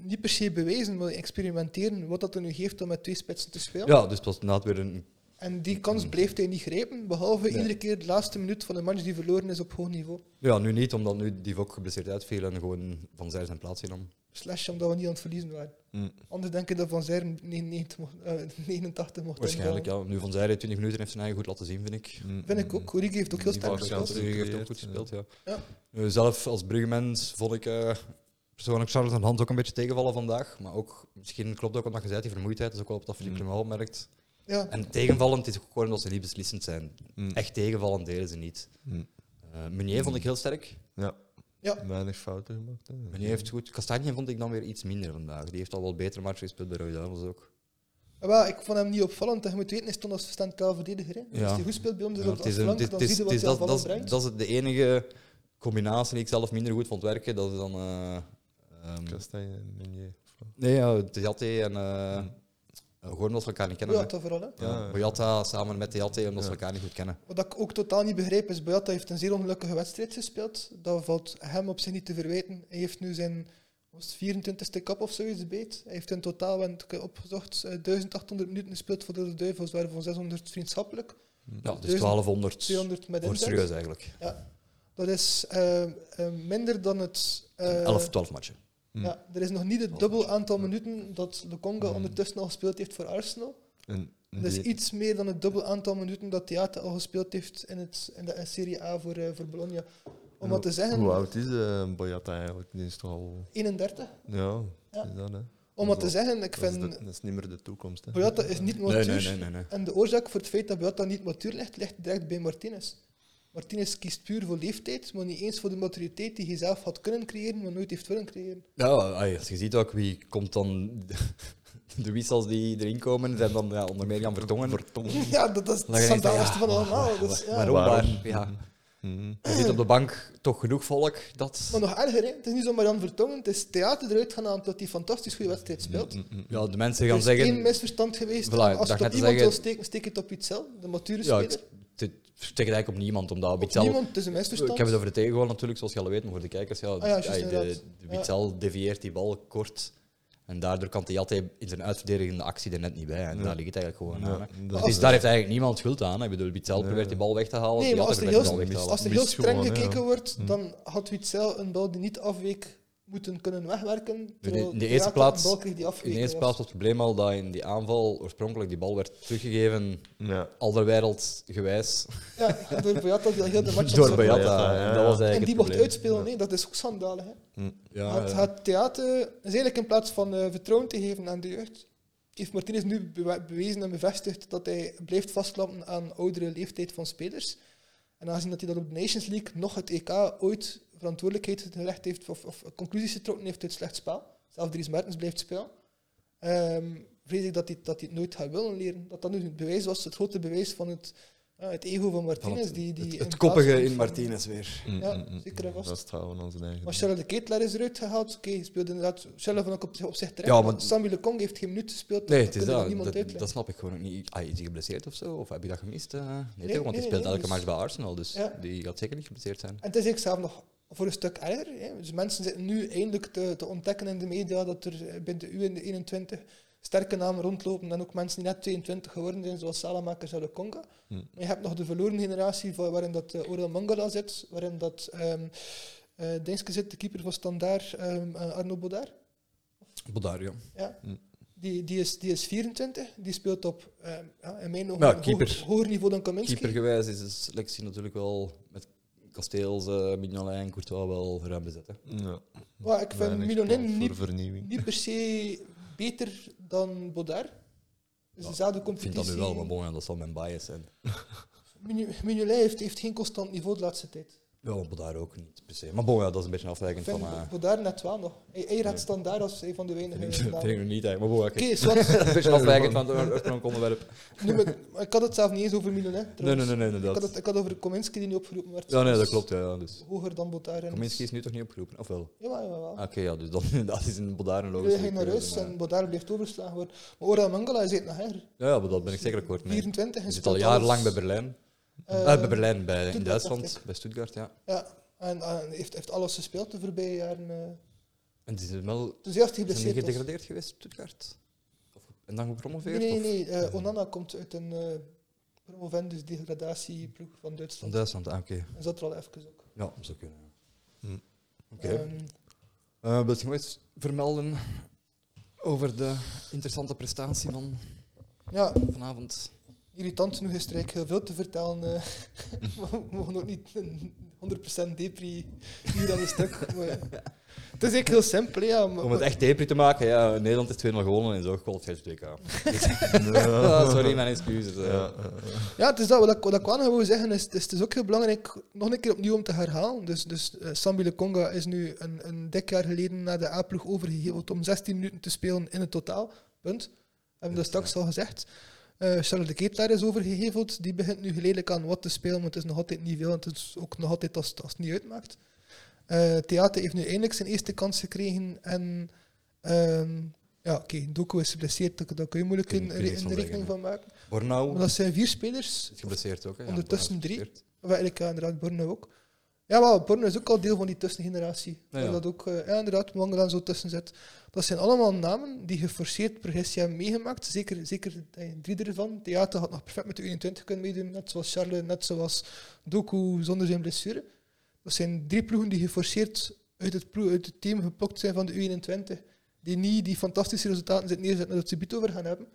Speaker 2: niet per se bewijzen, maar experimenteren wat dat er nu geeft om met twee spitsen te spelen.
Speaker 1: Ja, dus het was inderdaad weer een...
Speaker 2: En die kans bleef hij niet grijpen, behalve
Speaker 1: Nee.
Speaker 2: iedere keer de laatste minuut van een match die verloren is op hoog niveau.
Speaker 1: Ja, nu niet, omdat nu die ook geblesseerd uitviel en gewoon van zij zijn plaats innam.
Speaker 2: Slash omdat we niet aan het verliezen waren.
Speaker 3: Hm.
Speaker 2: Anders denk ik dat Van Zijren 99 mocht- eh, 89 mocht
Speaker 1: Waarschijnlijk,
Speaker 2: invallen.
Speaker 1: ja. Nu van zij 20 minuten heeft zijn eigen goed laten zien, vind ik.
Speaker 3: Hm.
Speaker 2: Vind ik ook. Origi heeft ook heel
Speaker 3: Die
Speaker 2: sterk
Speaker 3: was
Speaker 2: gespeeld.
Speaker 3: kans.
Speaker 1: Brugge heeft ook
Speaker 3: gecreëerd,
Speaker 1: goed gespeeld, ja.
Speaker 2: ja.
Speaker 1: Eh, zelf als Bruggemens vond ik eh, persoonlijk Charles en Hans ook een beetje tegenvallen vandaag. Maar ook, misschien klopt ook omdat je zei, die vermoeidheid is ook wel op dat Philippe
Speaker 3: Mm.
Speaker 1: wel merkt.
Speaker 2: Ja,
Speaker 1: En tegenvallend is ook gewoon dat ze niet beslissend zijn.
Speaker 3: Hm.
Speaker 1: Echt tegenvallend deden ze niet.
Speaker 3: Hm.
Speaker 1: Eh Meunier vond ik heel sterk.
Speaker 2: ja.
Speaker 3: Weinig fouten gemaakt. hè.
Speaker 1: Meunier heeft goed. Kastanje vond ik dan weer iets minder vandaag. Die heeft al wel betere matchen gespeeld bij Rode Duivels ook.
Speaker 2: Wel, ik vond hem niet opvallend. En je moet weten, hij stond als centraal verdediger. hè. Dus
Speaker 1: Ja.
Speaker 2: als hij goed speelt bij ons
Speaker 1: Ja,
Speaker 2: is op
Speaker 1: het is
Speaker 2: de
Speaker 1: een-
Speaker 2: flank,
Speaker 1: het
Speaker 2: dan
Speaker 1: is-
Speaker 2: zie je
Speaker 1: het
Speaker 2: wat
Speaker 1: is
Speaker 2: hij aan
Speaker 1: dat-
Speaker 2: ballen
Speaker 1: dat
Speaker 2: brengt.
Speaker 1: is- dat is de enige combinatie die ik zelf minder goed vond werken. Dat is dan... eh, ehm,
Speaker 3: Hm. Kastanje en Meunier.
Speaker 1: Nee, ja, Tejate en eh gewoon omdat ze elkaar niet kennen.
Speaker 2: ja,
Speaker 1: hè.
Speaker 2: dat vooral. Hè.
Speaker 1: Ja,
Speaker 3: Ja.
Speaker 1: Boyata samen met Tejate, omdat ze
Speaker 3: Ja.
Speaker 1: elkaar niet goed kennen.
Speaker 2: Wat ik ook totaal niet begrijp is, Boyata heeft een zeer ongelukkige wedstrijd gespeeld. Dat valt hem op zich niet te verwijten. Hij heeft nu zijn was het 24e kap of zoiets beet. Hij heeft in totaal, want ik heb opgezocht, eh, 1800 minuten gespeeld voor de Rode Duivels, waarvan 600 vriendschappelijk,
Speaker 1: Ja, dus
Speaker 2: Duizend-
Speaker 1: 1200
Speaker 2: 200 met
Speaker 1: voor
Speaker 2: inzet.
Speaker 1: serieus eigenlijk.
Speaker 2: Ja. Dat is eh, eh, minder dan het. eh,
Speaker 1: 11, 12 matchen.
Speaker 3: Mm.
Speaker 2: Ja, er is nog niet het dubbel aantal minuten dat de Conga ondertussen al gespeeld heeft voor Arsenal.
Speaker 3: En
Speaker 2: Dat is
Speaker 3: Mm. die-
Speaker 2: Dus iets meer dan het dubbel aantal minuten dat Theater al gespeeld heeft in, het, in de Serie A voor, eh, voor Bologna. Om wat te zeggen,
Speaker 3: Hoe oud is eh Boyata eigenlijk? Die is toch al...
Speaker 2: 31.
Speaker 3: Ja,
Speaker 2: Ja.
Speaker 3: is dat, hè?
Speaker 2: Om wat te zeggen, ik
Speaker 3: Dat is, de-
Speaker 2: vind
Speaker 3: dat is niet meer de toekomst. Hè?
Speaker 2: Boyata is niet
Speaker 1: Nee,
Speaker 2: matuur.
Speaker 1: nee, nee, nee. nee.
Speaker 2: En de oorzaak voor het feit dat Boyata niet matuur ligt, ligt direct bij Martinez. Martinez kiest puur voor leeftijd, maar niet eens voor de maturiteit die hij zelf had kunnen creëren, maar nooit heeft willen creëren.
Speaker 1: Nou, ai, als je ziet ook wie komt dan. De wissels die erin komen, zijn dan ja, onder meer gaan vertongen.
Speaker 3: Mm.
Speaker 1: Vertongen.
Speaker 2: Ja, dat, dat is
Speaker 1: Dan ga
Speaker 2: het
Speaker 1: je denken,
Speaker 2: schandaligste
Speaker 1: ja,
Speaker 2: van
Speaker 1: wa-
Speaker 2: allemaal.
Speaker 1: wa-
Speaker 2: Dus, ja.
Speaker 1: Waarom
Speaker 3: Waarom?
Speaker 1: daar? Ja.
Speaker 3: Mhm.
Speaker 1: Er zit op de bank toch genoeg volk dat.
Speaker 2: Maar nog erger, hè. het is niet zomaar Jan Vertongen, het is theater eruit gaan halen dat hij fantastisch goede wedstrijd speelt.
Speaker 3: mm,
Speaker 1: Ja, de mensen
Speaker 2: Er
Speaker 1: Mm-hmm. gaan
Speaker 2: is één
Speaker 1: zeggen.
Speaker 2: misverstand geweest.
Speaker 1: Voilà,
Speaker 2: Als je
Speaker 1: dat
Speaker 2: het
Speaker 1: gaat
Speaker 2: op
Speaker 1: te
Speaker 2: iemand
Speaker 1: zeggen-
Speaker 2: wil steken, steek het op Itzel, de mature
Speaker 1: Ja,
Speaker 2: speler.
Speaker 1: ik het steekt eigenlijk op niemand, omdat
Speaker 2: Op
Speaker 1: Witzel.
Speaker 2: niemand, het is een misverstand.
Speaker 1: Ik heb het over de tegengoal natuurlijk, zoals je al weet, maar voor de kijkers. Ja,
Speaker 2: Ah
Speaker 1: dus,
Speaker 2: ja, juist,
Speaker 1: ai, de,
Speaker 2: inderdaad.
Speaker 1: de Witzel devieert die bal kort. En daardoor kan Theaté in zijn uitverdedigende actie er net niet bij. En daar ligt het eigenlijk gewoon
Speaker 3: Ja,
Speaker 1: aan. hè.
Speaker 3: dat
Speaker 1: Dus
Speaker 2: is-
Speaker 1: daar heeft eigenlijk niemand schuld aan. hè. Ik bedoel, Witzel probeert die bal weg te halen.
Speaker 2: Nee, maar als
Speaker 1: Theaté
Speaker 2: er
Speaker 1: probeert die
Speaker 2: heel,
Speaker 1: bal weg te halen.
Speaker 2: als er heel streng
Speaker 3: Mist gewoon, hè,
Speaker 2: gekeken
Speaker 1: Mm.
Speaker 2: wordt, dan had Witzel een bal die niet afweek moeten kunnen wegwerken. terwijl
Speaker 1: in de
Speaker 2: Theater
Speaker 1: eerste plaats-
Speaker 2: een bal kreeg die
Speaker 1: In
Speaker 2: afweek
Speaker 1: de eerste
Speaker 2: was.
Speaker 1: plaats was het probleem al dat in die aanval oorspronkelijk die bal werd teruggegeven,
Speaker 3: Ja.
Speaker 1: alderwereld gewijs,
Speaker 2: Ja, door Boyata die al heel de match
Speaker 1: door
Speaker 2: had
Speaker 1: Boyata.
Speaker 3: Boyata, ja.
Speaker 1: En Dat was eigenlijk
Speaker 2: En die
Speaker 1: het
Speaker 2: mocht
Speaker 1: probleem.
Speaker 2: uitspelen, nee, dat is ook schandalig. Hè.
Speaker 3: Mm,
Speaker 1: Ja,
Speaker 2: Het,
Speaker 1: ja.
Speaker 2: het theater is eigenlijk in plaats van eh, vertrouwen te geven aan de jeugd, heeft Martinez nu bewe- bewezen en bevestigd dat hij blijft vastlampen aan oudere leeftijd van spelers. En aangezien dat hij dat op de Nations League nog het EK ooit verantwoordelijkheid gelegd heeft of, of conclusies getrokken heeft uit slecht spel, zelfs Dries Mertens blijft spelen, ehm, vrees ik dat hij, dat hij het nooit gaat willen leren. Dat dat nu het bewijs was, het grote bewijs van het, ja, het ego van
Speaker 1: Van
Speaker 2: Martinez.
Speaker 1: het-
Speaker 2: die, die
Speaker 1: het-
Speaker 2: in
Speaker 1: Het
Speaker 2: plaats
Speaker 1: koppige
Speaker 2: komt
Speaker 1: in
Speaker 2: van-
Speaker 1: Martinez weer.
Speaker 3: Mm,
Speaker 2: Ja,
Speaker 3: mm, mm,
Speaker 2: zeker en vast.
Speaker 3: Vasthouden aan zijn eigen.
Speaker 2: maar Charles de Ketelaar is eruit gehaald. Oké, hij speelde inderdaad Charles van ook op, op zich terecht.
Speaker 1: Ja,
Speaker 2: maar
Speaker 1: maar-
Speaker 2: Sammy Lecong heeft geen minuut gespeeld.
Speaker 1: Nee, het is
Speaker 2: kunnen we
Speaker 1: dat.
Speaker 2: niemand
Speaker 1: Dat,
Speaker 2: uitleggen.
Speaker 1: dat snap ik gewoon ook niet. Ah, is hij geblesseerd of zo? Of heb je dat gemist? eh? nee,
Speaker 2: Nee,
Speaker 1: toch? Want
Speaker 2: nee,
Speaker 1: hij speelt
Speaker 2: nee,
Speaker 1: elke
Speaker 2: dus-
Speaker 1: match bij Arsenal, dus
Speaker 2: Ja.
Speaker 1: die gaat zeker niet geblesseerd zijn.
Speaker 2: En het is eigenlijk zelf nog voor een stuk erger. Hè. Dus mensen zitten nu eindelijk te, te ontdekken in de media dat er eh, binnen de U en de 21 sterke namen rondlopen. En ook mensen die net 22 geworden zijn, zoals Salamaker en Conga.
Speaker 3: Hm.
Speaker 2: Maar je hebt nog de verloren generatie van- waarin dat eh, Orel Mangala zit, waarin dat ehm eh, Dingske zit, de keeper van Standaard, ehm, eh, Arno Bodaar.
Speaker 1: Bodario.
Speaker 2: Ja.
Speaker 1: Hm.
Speaker 3: Mm.
Speaker 2: Die, die, is, die is 24, die speelt op eh, ja, in mijn ogen
Speaker 1: Ja,
Speaker 2: een
Speaker 1: keeper.
Speaker 2: hoger, hoger niveau dan Kaminski.
Speaker 1: Keepergewijs is de selectie natuurlijk wel met Kasteels, eh Mignolet en Courtois wel ruim bezet. hè.
Speaker 3: Ja.
Speaker 2: Maar ik vind
Speaker 3: Weinig plaats
Speaker 2: Milonin
Speaker 3: voor
Speaker 2: niet,
Speaker 3: vernieuwing.
Speaker 2: niet per se beter dan Bodaar. Dus
Speaker 1: Ja,
Speaker 2: dezelfde
Speaker 1: Ik vind dat nu
Speaker 2: competitie.
Speaker 1: wel, maar bon, ja, dat zal mijn bias zijn.
Speaker 2: Migno- Mignolet heeft, heeft geen constant niveau de laatste tijd.
Speaker 1: Ja, maar daar ook niet per se. Maar bon, ja, dat is een beetje
Speaker 2: Ik
Speaker 1: afwijkend
Speaker 2: vind
Speaker 1: van... eh
Speaker 2: Bodaar net wel nog. Hij, hij raadt standaard als een van de weinigen.
Speaker 1: tegen
Speaker 2: namen.
Speaker 1: tegen niet eigenlijk, maar bon, ja, kijk.
Speaker 2: Oké, zwart.
Speaker 1: Een beetje afwijkend van het oorspronkelijke onderwerp.
Speaker 2: Nu met- maar ik had het zelf niet eens over Milonin.
Speaker 1: Nee, nee,
Speaker 2: trouwens.
Speaker 1: nee, nee,
Speaker 2: Ik had,
Speaker 1: inderdaad.
Speaker 2: het, ik had over Kominski die nu opgeroepen werd.
Speaker 1: Ja, nee, dat
Speaker 2: Dus
Speaker 1: klopt, ja, ja. Dus.
Speaker 2: Hoger dan Bodaar. en-
Speaker 1: Kaminski is nu toch niet opgeroepen, of wel?
Speaker 2: Jawel, jawel.
Speaker 1: Ah, Oké, ja, dus dan, dat is eh, een Bodaar een
Speaker 2: We
Speaker 1: logische
Speaker 2: ging naar huis
Speaker 1: keuze, maar-
Speaker 2: en Bodaar blijft overslagen worden. Maar Oral Mangala is het nog her.
Speaker 1: Ja, ja, maar dat ben ik zeker akkoord mee.
Speaker 2: 24
Speaker 1: Hij
Speaker 2: en
Speaker 1: zit al
Speaker 2: speelt
Speaker 1: jarenlang bij
Speaker 2: alles.
Speaker 1: Berlijn.
Speaker 2: Eh,
Speaker 1: Eh, bij Berlijn, bij, in
Speaker 2: Stuttgart, dacht
Speaker 1: Duitsland,
Speaker 2: ik.
Speaker 1: bij Stuttgart, ja.
Speaker 2: Ja, en, en heeft, heeft alles gespeeld de voorbije jaren. eh.
Speaker 1: En die zijn wel
Speaker 2: Dus hij heeft
Speaker 1: zijn die
Speaker 2: geblesseerd. was.
Speaker 1: gedegradeerd geweest, Stuttgart. Of, en dan
Speaker 2: Nee,
Speaker 1: gepromoveerd?
Speaker 2: nee,
Speaker 1: of-
Speaker 2: nee. eh, Onana komt uit een eh promovendus degradatieploeg van
Speaker 1: Van
Speaker 2: Duitsland.
Speaker 1: Duitsland, ah, oké.
Speaker 2: En zat er al even ook.
Speaker 1: Ja, dat zou kunnen. ja.
Speaker 3: Hm.
Speaker 1: Oké.
Speaker 2: Ehm,
Speaker 1: Eh, wil je nog iets vermelden over de interessante prestatie van
Speaker 2: ja,
Speaker 1: vanavond?
Speaker 2: irritant genoeg is er eigenlijk heel veel te vertellen. eh. we mogen ook niet een 100% depri hier aan een stuk. maar- het is eigenlijk heel simpel, ja. maar-
Speaker 1: Om het echt depri te maken, ja, Nederland is 2-0 gewonnen en zo gekold het WK.
Speaker 3: Ja.
Speaker 1: Ah, sorry, mijn excuses. eh.
Speaker 3: Ja, eh, eh.
Speaker 2: Ja, het is dat. Wat ik, wat ik wel nog wil zeggen is, is, het is ook heel belangrijk nog een keer opnieuw om te herhalen. Dus, dus eh, Sambi Lekonga is nu een, een dik jaar geleden naar de A-ploeg overgeheveld om 16 minuten te spelen in het totaal. Punt. Hebben we dat straks al gezegd. Eh Charles de Ketelaar is overgeheveld. Die begint nu geleidelijk aan wat te spelen, maar het is nog altijd niet veel. En het is ook nog altijd als, als het niet uitmaakt. Eh Theater heeft nu eindelijk zijn eerste kans gekregen. En ehm, ja, oké, Doku is geblesseerd. daar- Daar kun je moeilijk
Speaker 1: Kun
Speaker 2: in,
Speaker 1: je-
Speaker 2: in,
Speaker 1: kun je niks
Speaker 2: de
Speaker 1: van
Speaker 2: rekening
Speaker 1: zeggen,
Speaker 2: van maken. Maar
Speaker 1: Bornau
Speaker 2: dat zijn vier spelers.
Speaker 1: is geblesseerd ook. Hè? Ja,
Speaker 2: Ondertussen
Speaker 1: Bornau is
Speaker 2: drie.
Speaker 1: geblesseerd.
Speaker 2: Wel, ik ja, eh, inderdaad, Borne ook. Ja, maar Borne is ook al deel van die tussengeneratie.
Speaker 1: Ja,
Speaker 2: Waar
Speaker 1: ja.
Speaker 2: Dat ook, eh, ja, inderdaad, Mangala zo tussen zit. Dat zijn allemaal namen die geforceerd progressie hebben meegemaakt. Zeker, zeker eh, drie ervan. Theater had nog perfect met de 21 kunnen meedoen, net zoals Charles, net zoals Doku zonder zijn blessure. Dat zijn drie ploegen die geforceerd uit het, ploeg- uit het team geplokt zijn van de U21. Die niet die fantastische resultaten zitten neerzetten dat ze biet over gaan hebben.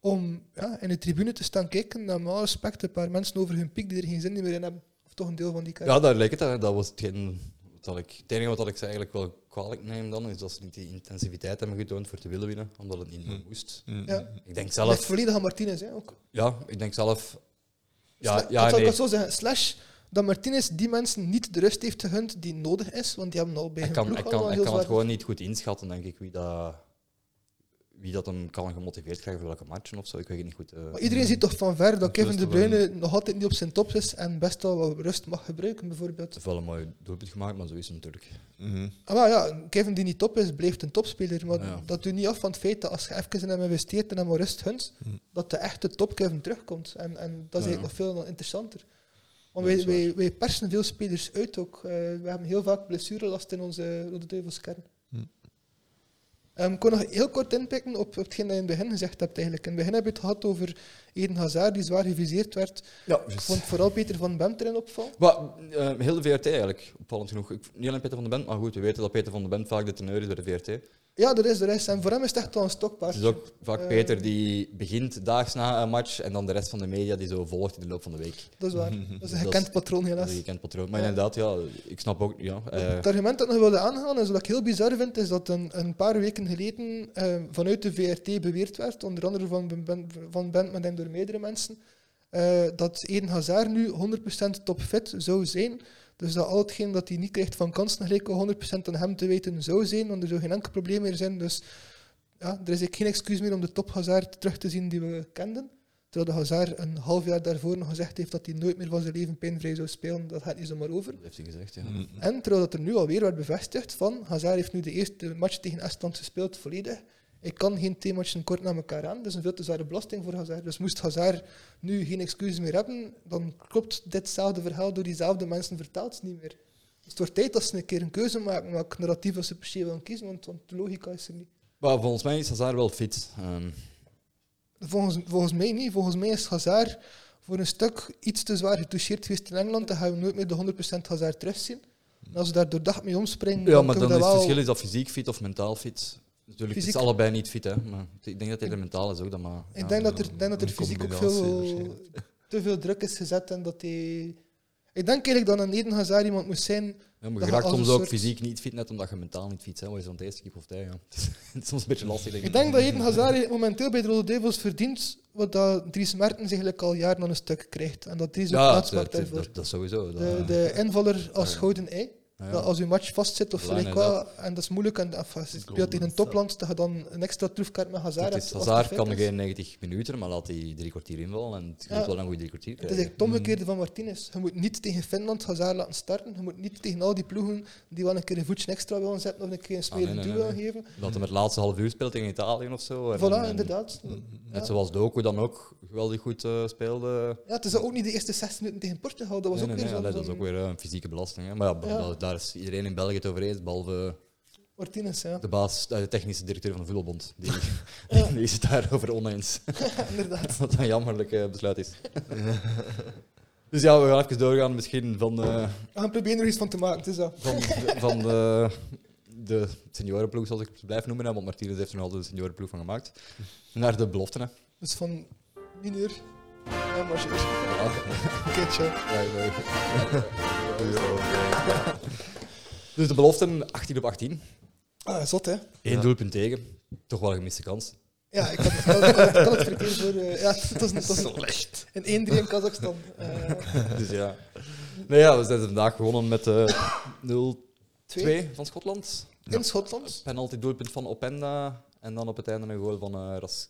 Speaker 2: Om ja, in de tribune te staan kijken naar met alle respect een paar mensen over hun piek die er geen zin meer in hebben. Of toch een deel van die kaart.
Speaker 1: Ja, daar leek het. aan. Dat was hetgeen wat ik, het enige wat ik ze eigenlijk wel kwalijk neem dan, is dat ze niet die intensiviteit hebben getoond voor te willen winnen, omdat het niet meer
Speaker 3: Hm.
Speaker 1: moest.
Speaker 2: Ja.
Speaker 1: Ik denk
Speaker 2: Dat ligt
Speaker 1: zelf...
Speaker 2: volledig aan Martinez. Hè, ook.
Speaker 1: Ja, ik denk zelf... Ja,
Speaker 2: Sla- dat
Speaker 1: ja
Speaker 2: zal ik
Speaker 1: nee.
Speaker 2: het zo zeggen. Slash dat Martinez die mensen niet de rust heeft gegund die nodig is, want die hebben al bij
Speaker 1: Ik
Speaker 2: hun
Speaker 1: kan,
Speaker 2: ploeg
Speaker 1: ik
Speaker 2: allemaal
Speaker 1: kan, ik
Speaker 2: heel
Speaker 1: kan het
Speaker 2: zwaar-
Speaker 1: gewoon niet goed inschatten, denk ik, wie dat, wie dat hem kan gemotiveerd krijgen voor welke matchen of zo. Ik weet het niet goed. eh.
Speaker 2: Maar iedereen ziet toch van ver dat
Speaker 3: Dat
Speaker 2: Kevin
Speaker 3: is
Speaker 2: De
Speaker 3: toch
Speaker 2: Bruyne nog altijd niet op zijn top is en best wel wat rust mag gebruiken, bijvoorbeeld.
Speaker 1: Ze heeft wel een mooi doelpunt gemaakt, maar zo is het natuurlijk.
Speaker 3: Mhm.
Speaker 2: Ah, maar ja, Kevin die niet top is, blijft een topspeler. Maar
Speaker 1: Ja.
Speaker 2: dat doet niet af van het feit dat als je even in hem investeert en hem wat rust gunt,
Speaker 3: Hm.
Speaker 2: dat de echte top Kevin terugkomt. En, en dat is
Speaker 1: Ja.
Speaker 2: eigenlijk nog veel interessanter. Want
Speaker 1: Ja,
Speaker 2: wij,
Speaker 1: dat is
Speaker 2: wij, wij persen veel spelers uit ook. Eh, we hebben heel vaak blessurelast in onze Rode Duivelskern.
Speaker 3: Hm.
Speaker 2: Ehm, ik kon nog heel kort inpikken op, op hetgeen dat je in het begin gezegd hebt. Eigenlijk. In het begin heb je het gehad over Eden Hazard, die zwaar geviseerd werd.
Speaker 1: Ja,
Speaker 2: Ik vond vooral Peter van Bent erin opval.
Speaker 1: Maar, eh, heel de VRT eigenlijk, opvallend genoeg. Ik, niet alleen Peter van den Bent, maar goed, we weten dat Peter van den Bent vaak de teneur is bij de VRT.
Speaker 2: Ja, er is, er is. En voor hem is het echt wel een stokpaard.
Speaker 1: Het is ook vaak
Speaker 2: Eh.
Speaker 1: Peter die begint daags na een match en dan de rest van de media die zo volgt in de loop van de week.
Speaker 2: Dat is waar.
Speaker 3: Mhm.
Speaker 2: Dat is een
Speaker 1: Dat
Speaker 2: gekend
Speaker 1: is-
Speaker 2: patroon,
Speaker 1: Dat is
Speaker 2: helaas.
Speaker 1: een gekend patroon. Maar
Speaker 2: Ja.
Speaker 1: inderdaad, ja, ik snap ook... Ja, eh,
Speaker 2: Het argument dat ik nog wilde aanhalen, is wat ik heel bizar vind, is dat een, een paar weken geleden eh, vanuit de VRT beweerd werd, onder andere van, Ben- ben, van Bentman en door meerdere mensen, eh, dat Eden Hazard nu 100% topfit zou zijn. Dus dat al hetgeen dat hij niet krijgt van kansen gelijk wel 100% aan hem te weten zou zijn, want er zou geen enkel probleem meer zijn. Dus ja, er is eigenlijk geen excuus meer om de top Hazard terug te zien die we kenden. Terwijl de Hazard een half jaar daarvoor nog gezegd heeft dat hij nooit meer van zijn leven pijnvrij zou spelen. Dat gaat niet zomaar over.
Speaker 1: dat heeft hij gezegd, ja.
Speaker 3: Mhm.
Speaker 2: En terwijl dat er nu alweer werd bevestigd van Hazard heeft nu de eerste match tegen Estland gespeeld volledig. Ik kan geen twee matchen kort na elkaar aan. Dat is een veel te zware belasting voor Hazard. Dus moest Hazard nu geen excuses meer hebben, dan klopt ditzelfde verhaal door diezelfde mensen vertaald niet meer. Dus het wordt tijd dat ze een keer een keuze maken, welk narratief dat ze per se willen kiezen, want, want de logica is er niet.
Speaker 1: Maar volgens mij is Hazard wel fit.
Speaker 2: Mm,
Speaker 1: Ehm,
Speaker 2: Volgens, volgens mij niet. Volgens mij is Hazard voor een stuk iets te zwaar getoucheerd geweest in Engeland. Dan gaan we nooit meer de 100% Hazard terugzien. En als we daar doordacht mee omspringen,
Speaker 1: ja, maar dan
Speaker 2: kunnen we
Speaker 1: is
Speaker 2: dat
Speaker 1: het
Speaker 2: wel-
Speaker 1: verschil is dat fysiek fit of mentaal fit. Natuurlijk, het
Speaker 2: Fysiek-
Speaker 1: is allebei niet fit, hè. Maar ik denk dat hij er mentaal is ook, dan maar...
Speaker 2: Ik denk dat er, denk dat er
Speaker 3: een
Speaker 2: fysiek ook
Speaker 3: combinatie
Speaker 2: veel,
Speaker 3: waarschijnlijk.
Speaker 2: te veel druk is gezet en dat hij... Ik denk eigenlijk dat een Eden Hazard iemand moet zijn...
Speaker 1: Ja, maar
Speaker 2: Dat
Speaker 1: je
Speaker 2: je
Speaker 1: raakt
Speaker 2: als
Speaker 1: soms
Speaker 2: een
Speaker 1: ook
Speaker 2: soort-
Speaker 1: fysiek niet fit, net omdat je mentaal niet fit bent. Wat is dan het eerste kip of tij? Ja. Het, is, het is soms een beetje lastig. Denk ik.
Speaker 2: Ik denk dat Eden Hazard momenteel bij de Rode Duivels verdient wat dat Dries Mertens eigenlijk al jaren aan een stuk krijgt. En dat Dries ook
Speaker 1: ja,
Speaker 2: plaats
Speaker 1: het-
Speaker 2: maakt
Speaker 1: het-
Speaker 2: daarvoor.
Speaker 1: dat, dat sowieso. Dat,
Speaker 2: De, de invaller als gouden ei.
Speaker 1: ja.
Speaker 2: Dat als je match vastzit of
Speaker 1: Belangrijk
Speaker 2: gelijk wat, en dat is moeilijk, en af, als je speelt tegen een topland, dat je dan een extra troefkaart met Hazard
Speaker 1: Het
Speaker 2: hebt.
Speaker 1: is,
Speaker 2: als
Speaker 1: Hazard
Speaker 2: die
Speaker 1: kan
Speaker 2: fit
Speaker 1: er
Speaker 2: is.
Speaker 1: geen 90 minuten, maar laat hij drie kwartier invallen en het
Speaker 2: Ja.
Speaker 1: gaat wel een goede drie kwartier
Speaker 2: Het is
Speaker 1: krijgen.
Speaker 2: echt het
Speaker 1: mm.
Speaker 2: omgekeerde van Martinez. Je moet niet tegen Finland Hazard laten starten. Je moet niet tegen al die ploegen die wel een keer een voetje extra willen zetten of een keer een
Speaker 1: nee,
Speaker 2: smerend
Speaker 1: Ah, nee,
Speaker 2: duel
Speaker 1: nee,
Speaker 2: willen
Speaker 1: nee.
Speaker 2: geven.
Speaker 1: Eh, Dat hij het laatste half uur speelt tegen Italië of zo. En-
Speaker 2: Voilà,
Speaker 1: en-
Speaker 2: inderdaad.
Speaker 1: Net
Speaker 2: Ja.
Speaker 1: zoals Doku dan ook geweldig goed eh, speelde.
Speaker 2: Ja, het is ook niet de eerste 16 minuten tegen Portugal. Dat was
Speaker 1: Nee,
Speaker 2: ook
Speaker 1: nee,
Speaker 2: weer
Speaker 1: nee,
Speaker 2: zo'n
Speaker 1: dat is ook weer eh, een fysieke belasting. Hè. Maar ja,
Speaker 2: Ja.
Speaker 1: dat- daar is iedereen in België het over eens, behalve
Speaker 2: Martinez, ja.
Speaker 1: de baas, eh, de technische directeur van de voetbalbond. Die,
Speaker 2: Ja.
Speaker 1: die is het daarover oneens.
Speaker 2: inderdaad.
Speaker 1: Wat een jammerlijk eh, besluit is. dus ja, we gaan even doorgaan misschien van, eh,
Speaker 2: We gaan proberen er iets van te maken. Het is dat.
Speaker 1: van, van de, de seniorenploeg, zoals ik het blijf noemen. hè, Want Martinez heeft er nog altijd een seniorenploeg van gemaakt. Naar de beloften. Hè.
Speaker 2: Dus van mineur en majeur.
Speaker 1: Ja.
Speaker 2: Oké, ciao.
Speaker 1: Ja, ik weet het. Dus de beloften 18 op 18.
Speaker 2: Ah, zot, hè.
Speaker 1: Eén doelpunt tegen. Toch wel een gemiste kans.
Speaker 2: Ja, ik had, ik had, ik had, ik had het verkeerd voor... eh, ja, het was, het was Slecht. Een 1-3 in Kazachstan. Eh,
Speaker 1: Dus ja. Nee, ja, we zijn vandaag gewonnen met eh
Speaker 2: twee.
Speaker 1: 0-2 van Schotland.
Speaker 2: In Schotland.
Speaker 1: penalty doelpunt van Openda en dan op het einde een goal van eh Ras.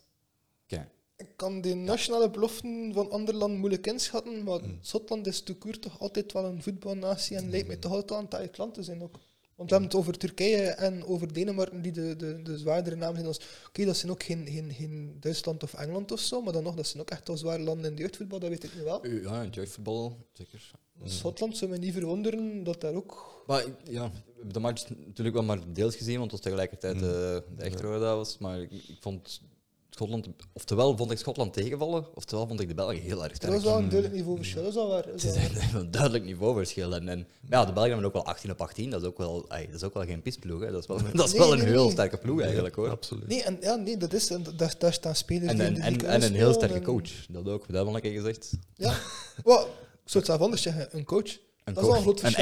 Speaker 2: Ik kan de nationale beloften van ander land moeilijk inschatten, maar
Speaker 1: Mm.
Speaker 2: Schotland is te koer toch altijd wel een voetbalnatie en lijkt mij
Speaker 1: Mm.
Speaker 2: toch altijd wel een taai land te zijn ook. Want we hebben het over Turkije en over Denemarken, die de, de, de zwaardere namen zijn. als- Oké, dat zijn ook geen, geen, geen Duitsland of Engeland of zo, maar dan nog, dat zijn ook echt al zware landen in de jeugdvoetbal, dat weet ik nu wel.
Speaker 1: Ja, het jeugdvoetbal, zeker.
Speaker 2: Schotland zou me niet verwonderen dat daar ook...
Speaker 1: Maar ik- ja, ik heb de
Speaker 2: Mm.
Speaker 1: match natuurlijk wel maar deels gezien, want het was tegelijkertijd eh, de echte rode duivels. Maar ik, ik vond Schotland, oftewel vond ik Schotland tegenvallen, oftewel vond ik de Belgen heel erg
Speaker 2: Dat
Speaker 1: sterk.
Speaker 2: was wel een duidelijk niveauverschil, dat is al waar. dat
Speaker 1: Het
Speaker 2: is
Speaker 1: Mm. is
Speaker 2: al waar.
Speaker 1: echt een duidelijk niveauverschil. En, en maar ja, de Belgen hebben ook wel 18 op 18, dat is ook wel, ey, dat is ook wel geen pisploeg. Hè. Dat is wel, dat is
Speaker 2: Nee,
Speaker 1: wel een
Speaker 2: nee,
Speaker 1: heel
Speaker 2: nee.
Speaker 1: sterke ploeg eigenlijk hoor.
Speaker 3: Absoluut.
Speaker 2: Nee, en, ja, nee, dat is, en daar, daar staan spelers
Speaker 1: En,
Speaker 2: die
Speaker 1: en,
Speaker 2: die
Speaker 1: en,
Speaker 2: kunnen
Speaker 1: en een heel
Speaker 2: spelen
Speaker 1: sterke
Speaker 2: en-
Speaker 1: coach, dat ook, dat heb ik al een keer gezegd.
Speaker 2: Ja, Wel, ik zou het zelf anders zeggen, een coach.
Speaker 1: Een
Speaker 2: dat is wel een groot
Speaker 1: coach,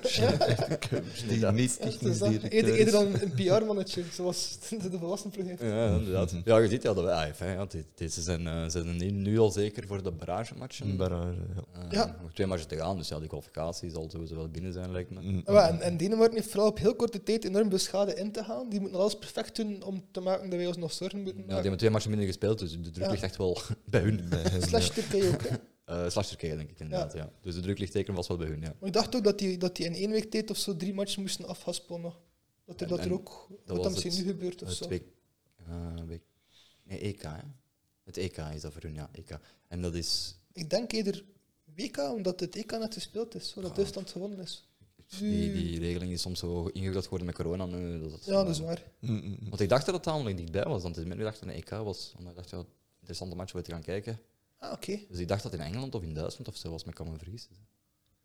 Speaker 2: verschil
Speaker 1: een echte
Speaker 2: met...
Speaker 1: coach.
Speaker 2: eh, ja,
Speaker 3: Die niet
Speaker 2: ja, het
Speaker 3: technisch
Speaker 2: is dat.
Speaker 3: directeur
Speaker 2: Eerder,
Speaker 3: is.
Speaker 2: eerder dan een PR-mannetje, zoals de de volwassen ploeg heeft.
Speaker 1: Ja, inderdaad. Ja, je ziet ja, dat we, ah, fijn, ja, dit- dit- ze zijn, eh, ze zijn nu- nu al zeker voor de barragematchen.
Speaker 2: Mm.
Speaker 3: Een barrage, ja.
Speaker 1: Eh,
Speaker 2: Ja.
Speaker 1: Nog twee matchen te gaan, dus ja, die kwalificatie zal sowieso wel binnen zijn, lijkt me.
Speaker 3: Mm.
Speaker 2: Ah, wel, En, en Denemarken heeft vooral op heel korte tijd enorm veel schade in te gaan. Die moeten alles perfect doen om te maken dat wij ons nog zorgen moeten
Speaker 1: Ja, die
Speaker 2: maken.
Speaker 1: hebben twee matchen minder gespeeld, dus de druk
Speaker 2: Ja.
Speaker 1: ligt echt wel bij hun.
Speaker 3: Bij hem,
Speaker 2: Slash
Speaker 3: ja.
Speaker 2: Turkije ook. hè.
Speaker 1: Eh slash Turkije, denk ik inderdaad. Ja. Dus de druk ligt zeker vast wel bij hun. Ja.
Speaker 2: Maar ik dacht ook dat die, dat die in één week tijd of zo drie matchen moesten afhaspelen nog. Dat er,
Speaker 1: En-
Speaker 2: dat er
Speaker 1: en
Speaker 2: ook, wat
Speaker 1: was
Speaker 2: dat misschien
Speaker 1: het-
Speaker 2: nu gebeurt of
Speaker 1: Het
Speaker 2: zo.
Speaker 1: WK, eh, WK nee, EK. Hè? Het EK is dat voor hun, ja. EK. En dat is.
Speaker 2: Ik denk eerder WK, omdat het EK net gespeeld is, zodat
Speaker 1: Ja.
Speaker 2: Duitsland gewonnen is.
Speaker 1: Die, die regeling is soms zo ingewikkeld geworden met corona. Nu, dat het-
Speaker 2: Ja, dat is waar.
Speaker 3: Mm, mm, mm.
Speaker 1: Want ik dacht dat het tamelijk dichtbij was, want het is meer gedacht dat het een EK was. Omdat ik dacht, ja, interessante match om te gaan kijken.
Speaker 2: Ah, oké.
Speaker 1: Dus ik dacht dat het in Engeland of in Duitsland of zo was, maar ik kan me vergissen.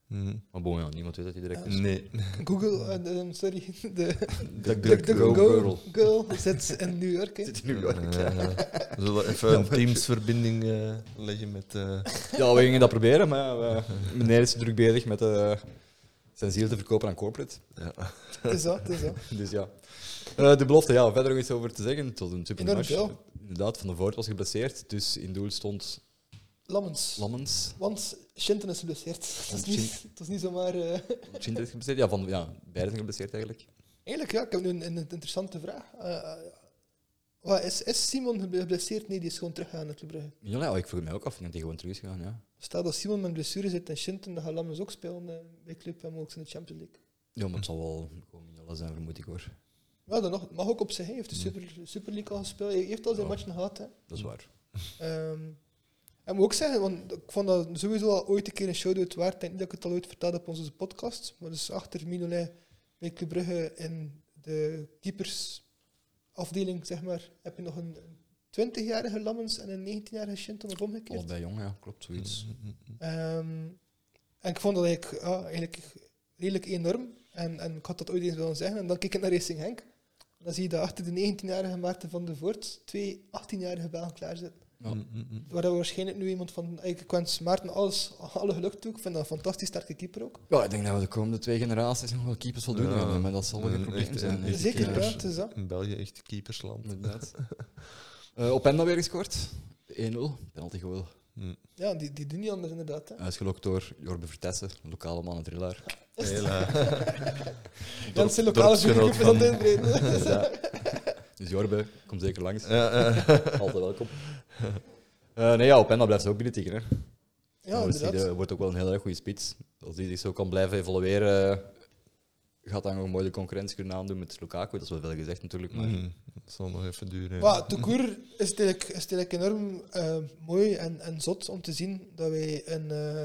Speaker 3: Mm.
Speaker 1: Maar bon, ja, niemand weet dat hij direct is.
Speaker 3: Nee.
Speaker 2: Google, eh, de- ehm, sorry, de
Speaker 1: De
Speaker 2: de- de
Speaker 1: Go
Speaker 2: Go
Speaker 1: Girl.
Speaker 2: Girl zit in New York. hè.
Speaker 1: Zit in New York.
Speaker 3: Eh, we zullen even een Teams-verbinding eh, leggen met... eh,
Speaker 1: Ja, we gingen dat proberen, maar ja, we- meneer is druk bezig met eh, zijn ziel te verkopen aan corporate.
Speaker 3: ja.
Speaker 2: Het Is dat, het is dat.
Speaker 1: Dus ja. Eh, de belofte, ja, verder nog iets over te zeggen. Tot een super
Speaker 2: Enorm
Speaker 1: match.
Speaker 2: veel.
Speaker 1: Inderdaad, Van der Voort was geblesseerd, dus in doel stond
Speaker 2: Lammens.
Speaker 1: Lammens.
Speaker 2: Want Shinton is geblesseerd. Dat is niet, dat is niet zomaar... eh,
Speaker 1: Schindler is geblesseerd. Ja, van, ja, beide zijn geblesseerd eigenlijk.
Speaker 2: Eigenlijk, ja, ik heb nu een, een interessante vraag. Eh, eh, wat is, is Simon geblesseerd? Nee, die is gewoon teruggegaan naar Club Brugge.
Speaker 1: Ja, nou, ik vroeg mij ook af, ik denk dat hij gewoon terug is gegaan, ja.
Speaker 2: Stel dat Simon met blessure zit en Shinton, dan gaat Lammens ook spelen eh, bij Club en ook in de Champions League.
Speaker 1: Ja, maar het zal wel gewoon Mignola zijn, vermoed ik hoor.
Speaker 2: Ja, dat nog, mag ook op zich. Hij heeft de Super, Super League al gespeeld. Hij heeft al zijn
Speaker 1: Ja.
Speaker 2: matchen gehad. Hè.
Speaker 1: Dat is waar.
Speaker 2: Ehm, en moet ook zeggen, want ik vond dat sowieso al ooit een keer een shout-out waard. Ik denk niet dat ik het al ooit verteld heb op onze podcast. Maar dus achter Minolay bij Club Brugge in de keepersafdeling, zeg maar, heb je nog een 20-jarige Lammens en een 19-jarige Shinton of omgekeerd.
Speaker 1: Allebei jong, ja, klopt, zoiets.
Speaker 3: mm,
Speaker 2: Ehm, en ik vond dat eigenlijk, ja, eigenlijk redelijk enorm. En, en ik had dat ooit eens willen zeggen. En dan keek ik naar Racing Henk. Dan zie je daar achter de 19-jarige Maarten van de Voort twee 18-jarige Belgen klaarzitten.
Speaker 1: Ja.
Speaker 3: Mm, mm, mm.
Speaker 2: Waar we waarschijnlijk nu iemand van... Ik ik wens Maarten alles, alle geluk toe. Ik vind dat een fantastisch sterke keeper ook.
Speaker 1: Ja, ik denk dat we de komende twee generaties nog wel keepers voldoen
Speaker 3: Ja. eh,
Speaker 1: hebben, maar dat zal wel geen
Speaker 3: Een
Speaker 1: probleem
Speaker 3: echte-
Speaker 1: zijn.
Speaker 3: een
Speaker 1: denk ik.
Speaker 3: echte
Speaker 2: Zeker,
Speaker 1: Ja.
Speaker 2: ja.
Speaker 3: keepers.
Speaker 2: Het is dat.
Speaker 3: In België echt keepersland.
Speaker 1: Inderdaad. Eh, Openda weer gescoord. 1-0. Penalty goal.
Speaker 3: Mm.
Speaker 2: Ja, die, die doen niet anders inderdaad. Hè.
Speaker 1: Uitgelokt door Jorbe Vertessen, lokale man en thriller.
Speaker 3: Heel, eh,
Speaker 2: Dat zijn lokale
Speaker 3: dorpsgenoot
Speaker 2: keepers aan het
Speaker 3: van-
Speaker 2: inbreden.
Speaker 1: Dus Jorbe, kom zeker langs.
Speaker 3: Ja, eh,
Speaker 1: Altijd welkom. Eh, nee, ja, Openda blijft ze ook binnen tikken. Hè.
Speaker 2: Ja,
Speaker 1: Dus die,
Speaker 2: inderdaad.
Speaker 1: eh, wordt ook wel een heel erg goede spits. Als die zich zo kan blijven evolueren, gaat dan nog mooi de concurrentie kunnen aandoen met Lukaku. Dat is wel veel gezegd natuurlijk, maar
Speaker 3: mm. Dat zal nog even duren.
Speaker 2: Maar toekoer is het eigenlijk, is het eigenlijk enorm eh, mooi en, en zot om te zien dat wij een, eh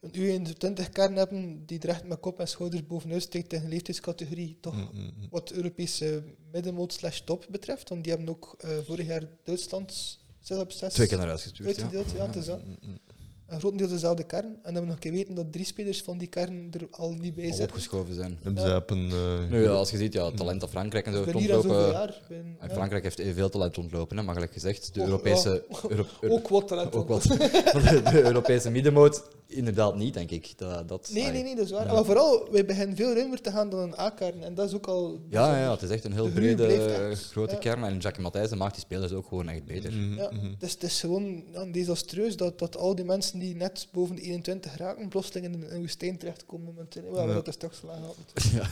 Speaker 2: een U21-kern hebben die er echt met kop en schouders bovenuit steekt tegen de leeftijdscategorie. Toch
Speaker 3: Mm, mm, mm.
Speaker 2: wat Europese middenmoot slash top betreft. Want die hebben ook eh, vorig jaar Duitsland 6 op 6
Speaker 1: twee keer naar huis gestuurd. Ja.
Speaker 2: uitgedeeld. Ja. het is dat.
Speaker 3: Mm, mm,
Speaker 2: Een grotendeels dezelfde kern. En dan hebben we nog een keer weten dat drie spelers van die kern er al niet bij
Speaker 1: Al
Speaker 2: zijn.
Speaker 1: opgeschoven zijn.
Speaker 3: Hebben ze op een... eh,
Speaker 1: Nu, ja, als je ziet, ja, talent dat Frankrijk en zo heeft
Speaker 2: ben hier al zoveel
Speaker 1: rondlopen.
Speaker 2: jaar. Ben-
Speaker 1: eh, En
Speaker 2: ja.
Speaker 1: Frankrijk heeft veel talent rondlopen, hè, maar gelijk gezegd, de
Speaker 2: Ook-
Speaker 1: Europese,
Speaker 2: oh.
Speaker 1: Euro- Euro-
Speaker 2: Ook wat talent.
Speaker 1: ook wat, de de Europese middenmoot inderdaad niet, denk ik. Dat, dat,
Speaker 2: Nee,
Speaker 1: allee.
Speaker 2: nee, nee, dat is waar. Maar vooral, wij beginnen veel ruimer te gaan dan een A-kern. En dat is ook al...
Speaker 1: Ja, ja, het is echt een heel
Speaker 2: De groei
Speaker 1: brede,
Speaker 2: blijft
Speaker 1: eh,
Speaker 2: echt,
Speaker 1: grote
Speaker 2: ja.
Speaker 1: kern. En Jackie Matthijssen maakt die spelers ook gewoon echt beter.
Speaker 3: mm,
Speaker 2: Ja,
Speaker 3: mm.
Speaker 2: dus het is gewoon ja, desastreus dat, dat al die mensen die net boven de 21 raken, plotseling in een- een woestijn terechtkomen momenteel. Ja,
Speaker 3: Ja.
Speaker 2: dat is toch slagen.
Speaker 1: Ja.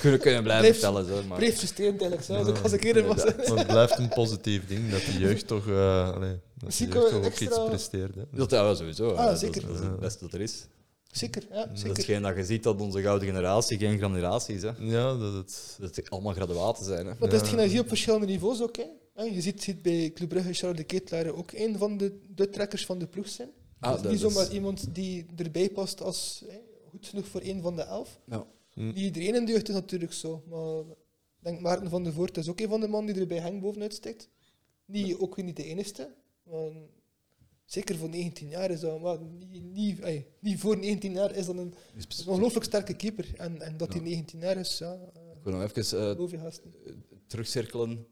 Speaker 1: kunnen, kunnen blijven
Speaker 2: Blijf-
Speaker 1: vertellen, zo, maar...
Speaker 2: Breed frustrerend eigenlijk zelfs, ook als ik eerder was.
Speaker 3: Maar het blijft een positief ding dat de jeugd toch, eh, allee, dat de
Speaker 2: Misschien
Speaker 3: jeugd
Speaker 2: kunnen
Speaker 3: toch
Speaker 2: we
Speaker 3: ook
Speaker 2: extra-
Speaker 3: iets presteert. Hè.
Speaker 1: Dat ja, wel sowieso.
Speaker 2: Ah,
Speaker 1: hè. Dat-
Speaker 2: zeker.
Speaker 1: Dat, is het beste dat er is.
Speaker 2: Zeker, ja,
Speaker 1: Dat is
Speaker 2: zeker.
Speaker 1: hetgeen dat je ziet dat onze gouden generatie geen generatie is. Hè.
Speaker 3: Ja, dat het...
Speaker 1: Dat het allemaal graduaten zijn. Hè.
Speaker 2: Maar het is geen op verschillende niveaus ook. Hè. En je ziet, ziet bij Club Brugge Charles de Ketelaere ook een van de, de trekkers van de ploeg zijn.
Speaker 1: Ah,
Speaker 2: dat is
Speaker 1: dat
Speaker 2: niet
Speaker 1: is-
Speaker 2: zomaar iemand die erbij past als hè, goed genoeg voor een van de elf.
Speaker 1: Ja.
Speaker 3: Hm.
Speaker 2: Niet iedereen in de jeugd is natuurlijk zo. Maar ik denk Maarten van der Voort is ook een van de mannen die er bij Henk bovenuit steekt. Niet, ook weer niet de enigste. Want zeker voor 19 jaar is dat... Maar niet, niet, ey, niet voor 19 jaar is dat een
Speaker 1: Dus bes-
Speaker 2: ongelooflijk sterke keeper. En, en dat
Speaker 1: Ja.
Speaker 2: hij 19 jaar is, ja...
Speaker 1: Ik wil nog even eh,
Speaker 2: Geloof je haast niet.
Speaker 1: terugcirkelen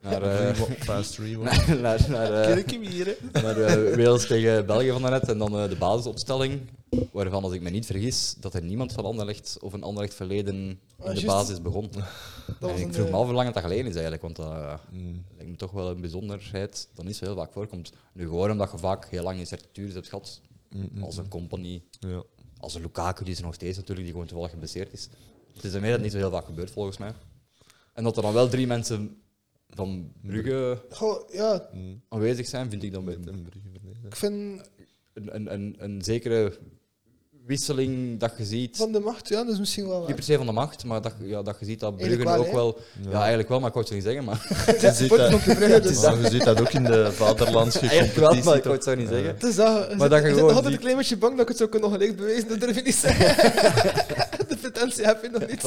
Speaker 1: naar, eh,
Speaker 3: Rewa- Fast rewind.
Speaker 1: naar, naar, eh,
Speaker 3: Kijk hem hier, hè.
Speaker 1: naar eh, Wales tegen België van daarnet. En dan eh, de basisopstelling, waarvan, als ik me niet vergis, dat er niemand van Anderlecht of een Anderlecht verleden in de
Speaker 2: Ah, juist.
Speaker 1: basis begon.
Speaker 2: Dat
Speaker 1: En
Speaker 2: was
Speaker 1: ik
Speaker 2: een,
Speaker 1: vroeg me
Speaker 2: eh,
Speaker 1: af hoe lang dat geleden is eigenlijk, want dat eh,
Speaker 3: Mm.
Speaker 1: lijkt me toch wel een bijzonderheid dat niet zo heel vaak voorkomt. Nu gewoon omdat je vaak heel lang in certitudes hebt gehad,
Speaker 3: Mm, mm,
Speaker 1: als een compagnie,
Speaker 3: Ja.
Speaker 1: als een Lukaku, die is er nog steeds natuurlijk, die gewoon toevallig geblesseerd is. Het is daarmee dat niet zo heel vaak gebeurt volgens mij. En dat er dan wel drie mensen van Brugge
Speaker 2: goh, ja,
Speaker 3: Mm.
Speaker 1: aanwezig zijn, vind ik dan weer
Speaker 3: Met een brugge beneden.
Speaker 2: ik vind...
Speaker 1: een, een, een, een zekere wisseling dat je ziet.
Speaker 2: Van de macht, ja, dat is misschien wel...
Speaker 1: Niet per se van de macht, maar dat, ja, dat je ziet dat Brugge
Speaker 2: Eigenlijk wel,
Speaker 1: ook wel... Ja. eigenlijk wel, maar ik wou het zo niet zeggen. Maar,
Speaker 3: Je ziet
Speaker 2: Punt
Speaker 3: dat-
Speaker 2: op de bruggen, dus-
Speaker 3: Maar je ziet dat ook in de vaderlandse
Speaker 1: eigenlijk wel, Ah maar ik wou
Speaker 3: competitie. toch?
Speaker 1: het zo niet
Speaker 3: Ja.
Speaker 1: zeggen.
Speaker 2: Dus dat,
Speaker 1: Maar dat
Speaker 2: maar dat
Speaker 1: je
Speaker 2: ik zit
Speaker 1: gewoon
Speaker 2: nog altijd
Speaker 1: die-
Speaker 2: een klein beetje bang dat ik het zou kunnen nog gelijk bewijzen, dat durf ik niet zeggen. de pretentie heb je nog niet.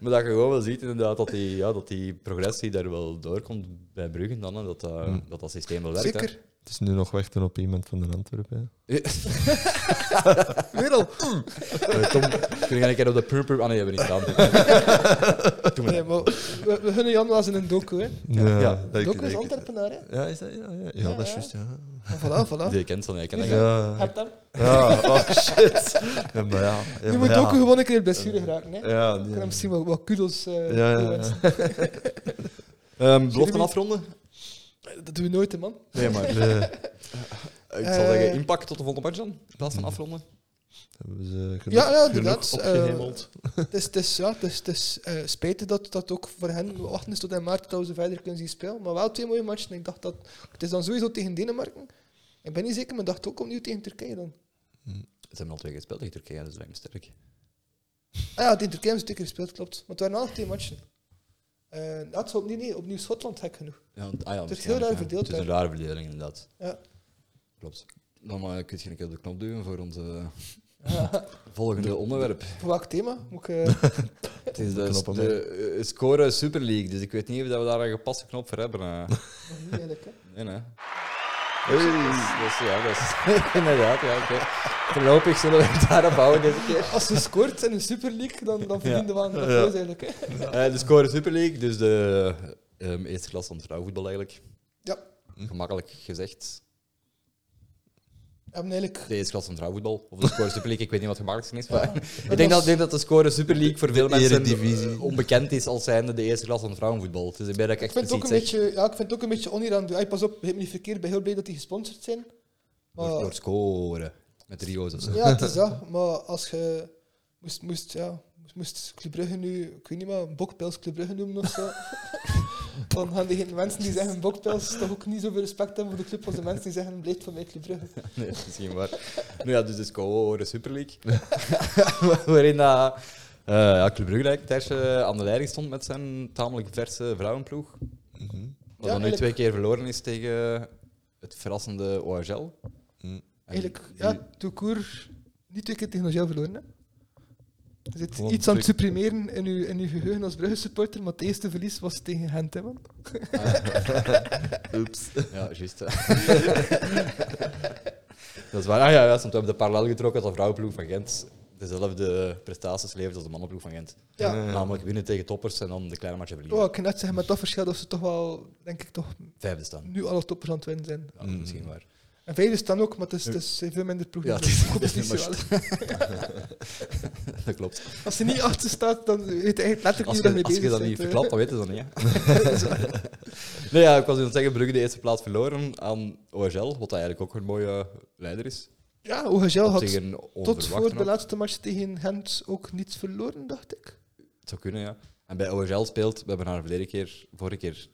Speaker 1: Maar dat je gewoon wel ziet inderdaad dat die, ja, dat die progressie daar wel doorkomt bij Brugge dan. hè, dat, dat-
Speaker 3: Hm.
Speaker 1: dat dat systeem wel werkt. hè.
Speaker 2: Zeker.
Speaker 3: Het is nu nog wachten op iemand van de Antwerpen.
Speaker 2: Weer al.
Speaker 1: Eh, Tom, kun je een keer op de purper... Ah nee, hebben we niet gedaan. Doe maar.
Speaker 2: Nee, maar we, we gunnen Jan was in een docu. Hè.
Speaker 3: Ja,
Speaker 1: Ja.
Speaker 3: dat
Speaker 2: Docu is
Speaker 3: ik-
Speaker 2: Antwerpenaar. Hè.
Speaker 3: Ja, is dat? Ja, ja. ja,
Speaker 2: Ja,
Speaker 3: dat is
Speaker 2: ja.
Speaker 3: juist, ja.
Speaker 2: Maar voilà, voilà.
Speaker 1: Die kent ze niet, ik ken dat niet.
Speaker 3: Ja,
Speaker 2: Heb hem.
Speaker 3: ja. oh shit. Ja, maar ja. ja,
Speaker 2: Nu
Speaker 3: maar
Speaker 2: moet
Speaker 3: ja.
Speaker 2: docu gewoon een keer in blessure geraken. Hè.
Speaker 3: Ja,
Speaker 2: Ik
Speaker 3: die-
Speaker 2: kan hem misschien wel wat kudos eh,
Speaker 3: Ja, ja,
Speaker 2: toewensen.
Speaker 3: ja.
Speaker 1: Ehm, Belofte
Speaker 2: Jullie-
Speaker 1: afronden?
Speaker 2: Dat doen we nooit, hè, man.
Speaker 1: Nee, maar...
Speaker 3: Nee,
Speaker 1: Eh, Ik zal
Speaker 2: Eh,
Speaker 1: zeggen, impact tot de volgende match dan, in plaats
Speaker 2: Hmm.
Speaker 1: van afronden.
Speaker 3: hebben ze genoeg,
Speaker 2: Ja, ja,
Speaker 3: genoeg
Speaker 2: inderdaad. eh,
Speaker 3: opgehemeld.
Speaker 2: Het is, het is, ja, het is, het is eh, spijtig dat dat ook voor hen we wachten is tot in maart dat we ze verder kunnen zien spelen. Maar wel twee mooie matchen. Ik dacht dat het is dan sowieso tegen Denemarken. Ik ben niet zeker, maar ik dacht ook opnieuw tegen Turkije dan.
Speaker 1: Ze hebben al twee keer gespeeld tegen Turkije, dus dat lijkt me sterk.
Speaker 2: Ah ja, tegen Turkije hebben ze twee keer gespeeld, klopt. Want het waren al twee matchen. Eh dat is opnieuw, nee, opnieuw Schotland gek genoeg.
Speaker 1: Ja, want- ah ja,
Speaker 2: Het is
Speaker 1: waarschijnlijk,
Speaker 2: heel raar
Speaker 1: ja.
Speaker 2: verdeeld,
Speaker 1: Het is een rare verdeling, inderdaad.
Speaker 2: Ja.
Speaker 1: Klopt. Dan eh, kun je een keer op de knop duwen voor onze volgende onderwerp.
Speaker 2: Voor welk thema? Moet ik, eh,
Speaker 1: Het is de,
Speaker 3: Knop, hè.
Speaker 1: de eh, Score Super League, dus ik weet niet of dat we daar een gepaste knop voor hebben. eh.
Speaker 2: nog niet eigenlijk, hè.
Speaker 1: Nee, nee. Dat is, dus, ja, dat is, inderdaad, ja, oké. Voorlopig zullen we het daarop houden deze keer.
Speaker 2: Als ze scoort in een Super League, dan, dan verdiende we aan dat
Speaker 3: Ja.
Speaker 2: prijs eigenlijk. Hè.
Speaker 1: Eh, de Score Super League, dus de ehm, eerste klas van het vrouwenvoetbal eigenlijk. Hm,
Speaker 2: Ja,
Speaker 1: Gemakkelijk gezegd.
Speaker 2: we hebben eigenlijk...
Speaker 1: De eerste klas van het vrouwenvoetbal. Of de Score Super League, ik weet niet wat gemakkelijk is. Maar ik,
Speaker 2: dat
Speaker 1: denk
Speaker 2: is-
Speaker 1: dat, ik denk dat de Score Super League voor veel mensen
Speaker 3: eredivisie.
Speaker 1: eh, onbekend is als zijnde de eerste klas van het vrouwenvoetbal. Het is erbij dat ik
Speaker 2: Ik vind,
Speaker 1: echt
Speaker 2: het ook een
Speaker 1: precies zeg.
Speaker 2: beetje, ja, ik vind het ook een beetje oneer aan doen. Ay, Pas op, begrijp me niet verkeerd, ik ben heel blij dat die gesponsord zijn. Maar,
Speaker 1: Door, door scoren. Met Rio's of zo.
Speaker 2: Ja, het is dat. Maar als je moest, moest, ja, moest, moest Club Brugge nu, ik weet niet maar, bokpels Club Brugge noemen of zo, dan gaan die mensen die zeggen bokpels toch ook niet zoveel respect hebben voor de club als de mensen die zeggen bleed van mij Club Brugge.
Speaker 1: Nee, dat is misschien waar. Nu ja, dus de Score Super League. Waarin dat, eh, ja, Club Brugge eigenlijk thuis eh, aan de leiding stond met zijn tamelijk verse vrouwenploeg.
Speaker 3: Mhm.
Speaker 1: Wat
Speaker 2: Ja,
Speaker 1: dan nu
Speaker 2: eigenlijk-
Speaker 1: twee keer verloren is tegen het verrassende OHL.
Speaker 3: Mm.
Speaker 1: En
Speaker 2: Eigenlijk,
Speaker 1: die-
Speaker 2: ja, tout court, niet twee keer tegen Nogel verloren. Hè. Er zit
Speaker 3: Gewoon
Speaker 2: iets aan het
Speaker 3: twee-
Speaker 2: supprimeren in uw, in uw geheugen als Brugge supporter, maar het eerste verlies was tegen Gent, hè, man.
Speaker 3: Oeps.
Speaker 1: Ja, juist. dat is waar. Ah ja, ja, want we hebben de parallel getrokken dat de vrouwenploeg van Gent dezelfde prestaties levert als de mannenploeg van Gent.
Speaker 2: Ja.
Speaker 3: Ja.
Speaker 1: Namelijk winnen tegen toppers en dan de kleine matchen verliezen.
Speaker 2: Oh, ik kan net zeggen, met dat verschil dat ze toch wel, denk ik, toch
Speaker 1: Vijfde staan.
Speaker 2: nu alle toppers aan het winnen zijn.
Speaker 3: Mhm.
Speaker 1: Ja, dat is misschien waar.
Speaker 2: En vijf is dan ook, maar het is, het is veel minder ploeg.
Speaker 1: Ja,
Speaker 2: dan
Speaker 1: het is-
Speaker 2: de
Speaker 1: het is
Speaker 2: competitie
Speaker 1: maar-
Speaker 2: wel.
Speaker 1: Dat klopt.
Speaker 2: Als ze niet achter staat, dan weet je eigenlijk letterlijk
Speaker 1: Als
Speaker 2: niet
Speaker 1: je,
Speaker 2: waar je mee
Speaker 1: als je
Speaker 2: bezig
Speaker 1: dat
Speaker 2: bent,
Speaker 1: niet
Speaker 2: hè.
Speaker 1: verklapt, dan weten ze dat niet. Hè? nee, ja, ik was aan het zeggen, Brugge de eerste plaats verloren aan OHL, wat eigenlijk ook een mooie leider is.
Speaker 2: Ja, Ogagel
Speaker 1: Op
Speaker 2: had
Speaker 1: zich een
Speaker 2: tot
Speaker 1: onverwachte
Speaker 2: voor de
Speaker 1: ook.
Speaker 2: laatste match tegen Gent ook niets verloren, dacht ik.
Speaker 1: Het zou kunnen, ja. En bij OHL speelt, we hebben haar verleden keer, vorige keer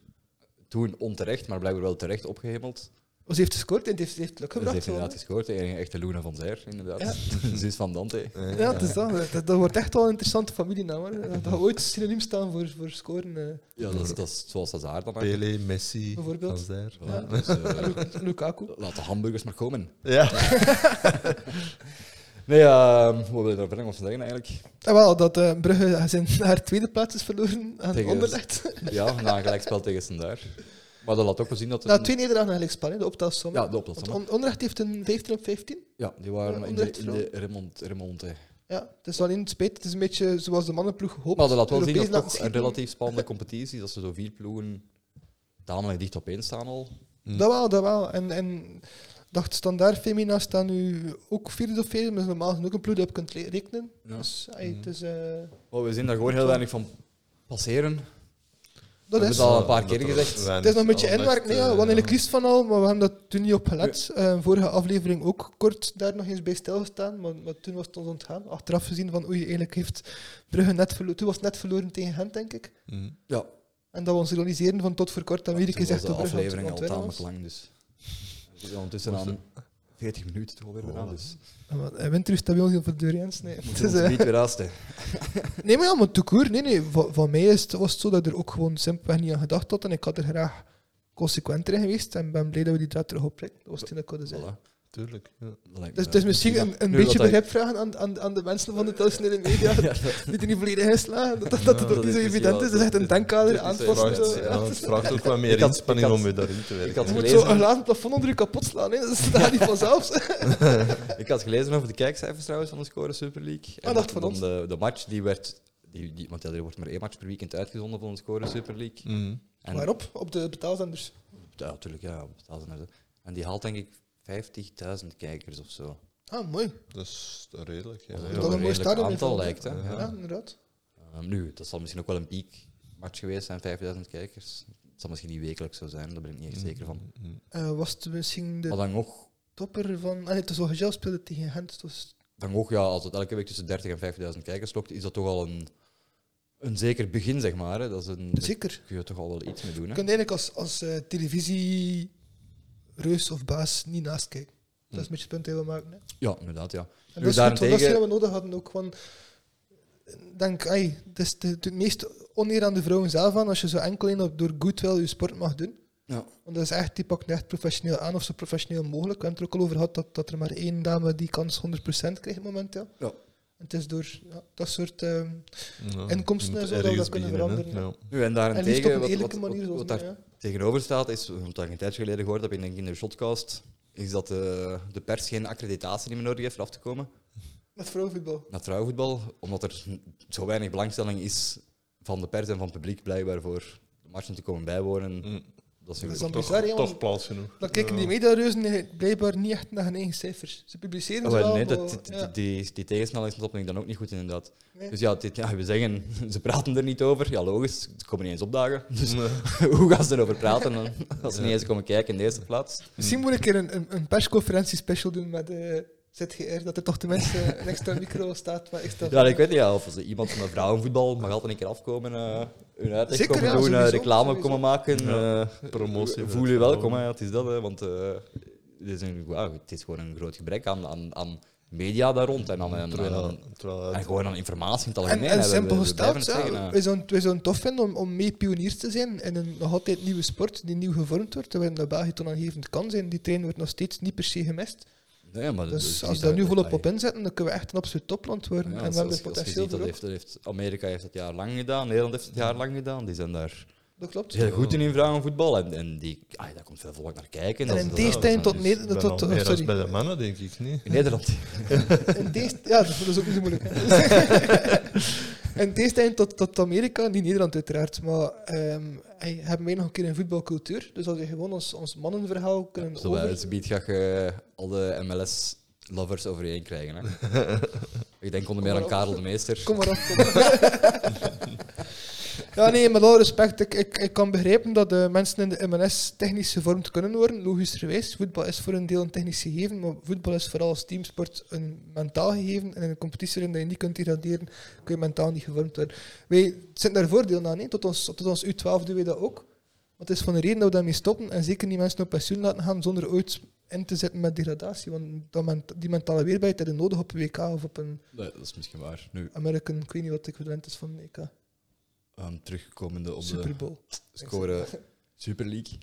Speaker 1: toen onterecht, maar blijkbaar wel terecht opgehemeld. Dus
Speaker 2: Oh, ze heeft gescoord en het heeft, het heeft geluk
Speaker 1: Ze heeft
Speaker 2: gebracht.
Speaker 1: inderdaad
Speaker 2: gewoon,
Speaker 1: gescoord, de enige echte Luna van Zijr, inderdaad. Zus van Dante.
Speaker 2: hè. ja, het is dat. dat. dat wordt echt wel een interessante familienaam. Hoor. Eh, Dat gaat ooit synoniem staan voor, voor scoren. eh.
Speaker 1: Ja, dat is, dat is zoals dat haar dan eigenlijk.
Speaker 3: Pele, Messi,
Speaker 2: Bijvoorbeeld.
Speaker 3: Van Zijr.
Speaker 1: Voilà, dus, eh,
Speaker 2: Lu- Lukaku.
Speaker 1: laat de hamburgers maar komen.
Speaker 3: Ja.
Speaker 1: Nee, eh wat wil je daar verder nog van zeggen eigenlijk?
Speaker 2: En wel, dat eh, Brugge zijn haar tweede plaats is verloren aan
Speaker 1: Tegen-
Speaker 2: Anderlecht.
Speaker 1: Ja, na een gelijkspel tegen Sendaar. Maar dat laat ook wel zien dat er
Speaker 2: Nou,
Speaker 1: een-
Speaker 2: twee nederlagen eigenlijk span, hè, de optelsom.
Speaker 1: Ja, de optelsom,
Speaker 2: Want On- Onrecht heeft een 15 op 15.
Speaker 1: Ja, die waren
Speaker 2: Ja,
Speaker 1: in de,
Speaker 2: onder-
Speaker 1: in de remont, remonte.
Speaker 2: Ja, het is alleen spijt. Het is een beetje zoals de mannenploeg hoopt.
Speaker 1: Maar dat laat wel zien dat
Speaker 2: Europees
Speaker 1: het
Speaker 2: laten
Speaker 1: toch
Speaker 2: schieten.
Speaker 1: een relatief spannende competitie is. Dat ze zo vier ploegen tamelijk dicht op één staan al.
Speaker 2: Dat wel, dat wel. En, en dacht standaard Femina staan nu ook vierde of vierde, maar is normaal gezien ook een ploeg die op kunt le- rekenen.
Speaker 1: Ja. Mm.
Speaker 2: Dus ey, het is... eh,
Speaker 1: Maar we zien daar gewoon heel weinig van passeren.
Speaker 2: dat
Speaker 1: We
Speaker 2: is...
Speaker 1: moeten al een paar keer gezegd.
Speaker 2: Het is nog een
Speaker 3: Oh,
Speaker 2: beetje inwerk,
Speaker 1: eh,
Speaker 2: nee, ja,
Speaker 3: eh,
Speaker 2: we hadden er liefst van al, maar we hebben dat toen niet op gelet. Eh, vorige aflevering ook kort daar nog eens bij stilgestaan, maar, maar toen was het ons ontgaan. Achteraf gezien van, oei, eigenlijk heeft Brugge net verloren. Toen was het net verloren tegen Gent, denk ik.
Speaker 3: Mm,
Speaker 1: Ja,
Speaker 2: En dat we ons ironiseren van tot voor kort, dan weet ik
Speaker 1: toen was
Speaker 2: gezegd
Speaker 1: de
Speaker 2: dat Brugge aan het
Speaker 1: aflevering al
Speaker 2: ontwinnen
Speaker 1: tamelijk
Speaker 2: was.
Speaker 1: lang. Dus. We zitten ondertussen
Speaker 3: Moest
Speaker 1: aan 40 minuten toch weer aan.
Speaker 3: Voilà.
Speaker 1: Dus
Speaker 2: Ja, maar, eh, Winter is dat bij ons heel veel deur, Jens. Nee,
Speaker 1: we
Speaker 2: het
Speaker 1: moeten
Speaker 2: is,
Speaker 1: ons
Speaker 2: eh,
Speaker 1: niet weer haasten.
Speaker 2: nee, maar ja, maar toekoer. Nee, nee, van, van mij is het, was het zo dat ik er ook gewoon simpelweg niet aan gedacht had. En ik had er graag consequenter in geweest. En ben blij dat we die draad terug opprikken. Dat was het in dat ik wilde zeggen.
Speaker 1: Voilà.
Speaker 3: Tuurlijk. Ja.
Speaker 1: Dat lijkt me-
Speaker 2: eh, Dus het is misschien een, een
Speaker 1: Nu
Speaker 2: beetje
Speaker 1: dat hij-
Speaker 2: begrip vragen aan, aan, aan de mensen van de traditionele media. die er niet volledig in slagen. Dat dat,
Speaker 3: Ja,
Speaker 2: dat het
Speaker 1: dat
Speaker 2: ook niet
Speaker 1: is
Speaker 2: zo
Speaker 1: misschien
Speaker 2: evident
Speaker 1: wel-
Speaker 2: is. Dat is echt een
Speaker 1: dit- dit
Speaker 2: denkkader
Speaker 1: is
Speaker 2: aanpassen.
Speaker 1: echt-
Speaker 2: en zo,
Speaker 3: Vraagt,
Speaker 1: Ja.
Speaker 2: ja.
Speaker 3: ja, het vraagt ook wat
Speaker 1: Ik
Speaker 3: meer
Speaker 1: had-
Speaker 3: inspanning
Speaker 1: ik had-
Speaker 3: om je daarin te
Speaker 1: ik had
Speaker 2: Je
Speaker 3: werken.
Speaker 2: moet
Speaker 1: gelezen-
Speaker 2: zo een glazen plafond onder je kapot slaan. Hè. Dat staat niet vanzelf.
Speaker 1: Ik had gelezen over de kijkcijfers trouwens van de Score Super League.
Speaker 2: Ah, dat van
Speaker 1: dan
Speaker 2: ons.
Speaker 1: De, de match die werd. Die, die, want ja, er wordt maar één match per weekend uitgezonden van de Score Super League.
Speaker 3: Mhm.
Speaker 1: En,
Speaker 2: Waarop? Op de betaalzenders.
Speaker 1: Ja, natuurlijk. Ja, op betaalzender, hè. En die haalt denk ik 50.000 kijkers of zo.
Speaker 2: Ah, mooi.
Speaker 3: Dat is redelijk. Ja.
Speaker 1: Dat is
Speaker 3: Ja.
Speaker 1: wel
Speaker 2: Dat een mooi
Speaker 1: redelijk
Speaker 2: stadion heeft,
Speaker 1: aantal
Speaker 2: hè.
Speaker 1: lijkt. Hè?
Speaker 3: Ja.
Speaker 2: Ja,
Speaker 1: Ja.
Speaker 2: inderdaad.
Speaker 1: Ehm, nu, dat zal misschien ook wel een piekmatch geweest zijn, 5000 kijkers. Het zal misschien niet wekelijks zo zijn, daar ben ik niet echt zeker van.
Speaker 3: Mhm.
Speaker 2: Eh, was het misschien de
Speaker 1: Maar dan nog,
Speaker 2: topper van. Ah, het was wel Gel speelde tegen Gent. Dus
Speaker 1: dan nog ja, als het elke week tussen 30 en 5000 kijkers lokt, is dat toch al een, een zeker begin, zeg maar. Hè? Dat is een, daar
Speaker 2: zeker.
Speaker 1: kun je toch al wel iets mee doen.
Speaker 2: Je
Speaker 1: Hè?
Speaker 2: kunt eigenlijk als, als eh, televisie reus of baas niet naast kijken. Dat is een beetje het punt dat we maken. Hè.
Speaker 1: Ja, inderdaad, ja.
Speaker 2: En
Speaker 1: Nu,
Speaker 2: dat is goed, want dat
Speaker 1: Hmm.
Speaker 2: is
Speaker 1: daarentegen-
Speaker 2: wat we nodig hadden ook. Want ik denk, ai, het is de- het meest oneer aan de vrouwen zelf aan als je zo enkel in op door goodwill je sport mag doen.
Speaker 1: Ja.
Speaker 2: Want dat is echt, die pakt echt professioneel aan of zo professioneel mogelijk. We hebben het er ook al over gehad dat, dat er maar één dame die kans 100% krijgt momenteel.
Speaker 1: Ja.
Speaker 2: Het is door ja, dat soort ehm,
Speaker 3: mm. Ja.
Speaker 2: Inkomsten
Speaker 3: Je moet
Speaker 2: en zo, dat
Speaker 3: ergens
Speaker 2: kunnen
Speaker 3: beginnen, hè.
Speaker 2: veranderen,
Speaker 3: Ja.
Speaker 1: Nu, en
Speaker 2: en liefst op
Speaker 1: daarentegen,
Speaker 2: een
Speaker 1: wat, wat,
Speaker 2: eerlijke
Speaker 1: wat,
Speaker 2: manier.
Speaker 1: wat
Speaker 2: zoals
Speaker 1: daar
Speaker 2: mij, ja.
Speaker 1: tegenover staat, is, omdat ik een tijdje geleden gehoord heb in een kindershotcast, is dat de, de pers geen accreditatie meer nodig heeft om af te komen.
Speaker 2: Met vrouwenvoetbal.
Speaker 1: naar vrouwenvoetbal, omdat er zo weinig belangstelling is van de pers en van het publiek blijkbaar voor de matchen te komen bijwonen.
Speaker 3: Mm.
Speaker 1: Dat is
Speaker 2: Dat is
Speaker 1: een-
Speaker 2: dan
Speaker 3: Toch,
Speaker 2: bizar, hè, want
Speaker 3: toch plaats genoeg.
Speaker 2: Dan kijken die
Speaker 3: Ja.
Speaker 2: mediareuzen blijkbaar niet echt naar hun eigen cijfers. Ze publiceren
Speaker 1: Ah,
Speaker 2: ze
Speaker 1: wel,
Speaker 2: wel,
Speaker 1: nee,
Speaker 2: maar-
Speaker 1: dat, die, die,
Speaker 2: ja.
Speaker 1: die, die tegenstelling snapt ik dan ook niet goed, inderdaad.
Speaker 2: Nee.
Speaker 1: Dus ja, dit, ja, we zeggen, ze praten er niet over. Ja, logisch, ze komen niet eens opdagen. Dus
Speaker 3: Nee.
Speaker 1: hoe gaan ze erover praten dan, als ze niet eens komen kijken in de eerste plaats?
Speaker 2: Misschien moet ik een keer een, een, een persconferentie special doen met eh ZGR, dat er toch tenminste een extra micro staat. Maar extra
Speaker 1: Ja, ik weet niet, ja, of ze iemand van de vrouwenvoetbal mag altijd een keer afkomen, eh, hun uitleg
Speaker 2: Zeker,
Speaker 1: komen
Speaker 2: ja,
Speaker 1: doen, eh,
Speaker 2: sowieso,
Speaker 1: reclame
Speaker 2: sowieso.
Speaker 1: komen maken.
Speaker 3: Ja,
Speaker 1: eh,
Speaker 3: promotie
Speaker 1: voel-
Speaker 3: voor
Speaker 1: Voel
Speaker 3: het
Speaker 1: je welkom,
Speaker 3: vrouwen.
Speaker 1: hè, het is dat, hè, want eh, het, is een, wauw, het is gewoon een groot gebrek aan, aan, aan media daar rond en, aan, en,
Speaker 3: Terwijl,
Speaker 1: en-
Speaker 3: terwijl
Speaker 1: en
Speaker 3: het-
Speaker 1: gewoon aan informatie in het
Speaker 2: En,
Speaker 1: algemeen.
Speaker 2: en
Speaker 1: hè. We- we-
Speaker 2: simpel
Speaker 1: we blijven
Speaker 2: gesteld,
Speaker 1: het
Speaker 2: ja,
Speaker 1: zeggen, hè.
Speaker 2: wij zouden wij zouden het tof vinden om, om mee pioniers te zijn in een nog altijd nieuwe sport die nieuw gevormd wordt, terwijl dat België toonaangevend kan zijn. Die trein wordt nog steeds niet per se gemist.
Speaker 1: Nee, maar het
Speaker 2: Dus
Speaker 1: is
Speaker 2: als
Speaker 1: niet
Speaker 2: we daar
Speaker 1: dat-
Speaker 2: nu volop op
Speaker 1: Ja,
Speaker 2: inzetten, dan kunnen we echt een absoluut topland worden. en
Speaker 1: als-
Speaker 2: we hebben
Speaker 1: als-
Speaker 2: het
Speaker 1: als je
Speaker 2: potentieel
Speaker 1: ziet, dat
Speaker 2: voor
Speaker 1: heeft, dat heeft, Amerika heeft dat jaar lang gedaan, Nederland heeft het jaar lang gedaan. Die zijn daar
Speaker 2: ook. Dat klopt.
Speaker 1: heel goed in in vrouwenvoetbal. En, en die, ah, daar komt veel volk naar kijken.
Speaker 2: En
Speaker 1: dat is-
Speaker 2: in
Speaker 1: dat is-
Speaker 2: deze
Speaker 1: dat
Speaker 2: tijd
Speaker 1: is-
Speaker 2: tot
Speaker 1: dat is-
Speaker 3: Ik
Speaker 2: Nederland...
Speaker 3: ben
Speaker 2: tot-
Speaker 3: al
Speaker 2: tot-
Speaker 3: meer als
Speaker 2: Sorry.
Speaker 3: bij de mannen, denk ik niet.
Speaker 1: In Nederland.
Speaker 2: In deze, ja, dat is ook niet zo moeilijk. In deze tijd tot, tot Amerika, niet Nederland uiteraard, maar ehm, hey, hebben wij nog een keer een voetbalcultuur. Dus als we gewoon ons, ons mannenverhaal kunnen
Speaker 1: Zo bij
Speaker 2: over...
Speaker 1: het gebied ga je eh, al de MLS-lovers overeen krijgen. Hè? ik denk onder meer
Speaker 2: maar
Speaker 1: aan
Speaker 2: op.
Speaker 1: Karel de Meester.
Speaker 2: Kom maar op. kom maar. ja, nee, met alle respect, ik, ik, ik kan begrijpen dat de mensen in de MLS technisch gevormd kunnen worden, logisch gewijs. Voetbal is voor een deel een technisch gegeven, maar voetbal is vooral als teamsport een mentaal gegeven. En in een competitie waarin je niet kunt degraderen, kun je mentaal niet gevormd worden. Wij zitten daar voordeel aan, nee? tot, ons, tot ons U12 doen wij dat ook. Want het is van de reden dat we daarmee stoppen en zeker die mensen op pensioen laten gaan zonder ooit in te zetten met degradatie. Want dat men- die mentale weerbaarheid hebben nodig op een WK of op een
Speaker 1: Nee, dat is misschien waar. Nu,
Speaker 2: American, ik weet niet wat de equivalent is van EK.
Speaker 1: ehm, terugkomende op
Speaker 2: Super
Speaker 1: de
Speaker 2: Bowl.
Speaker 1: score Super League.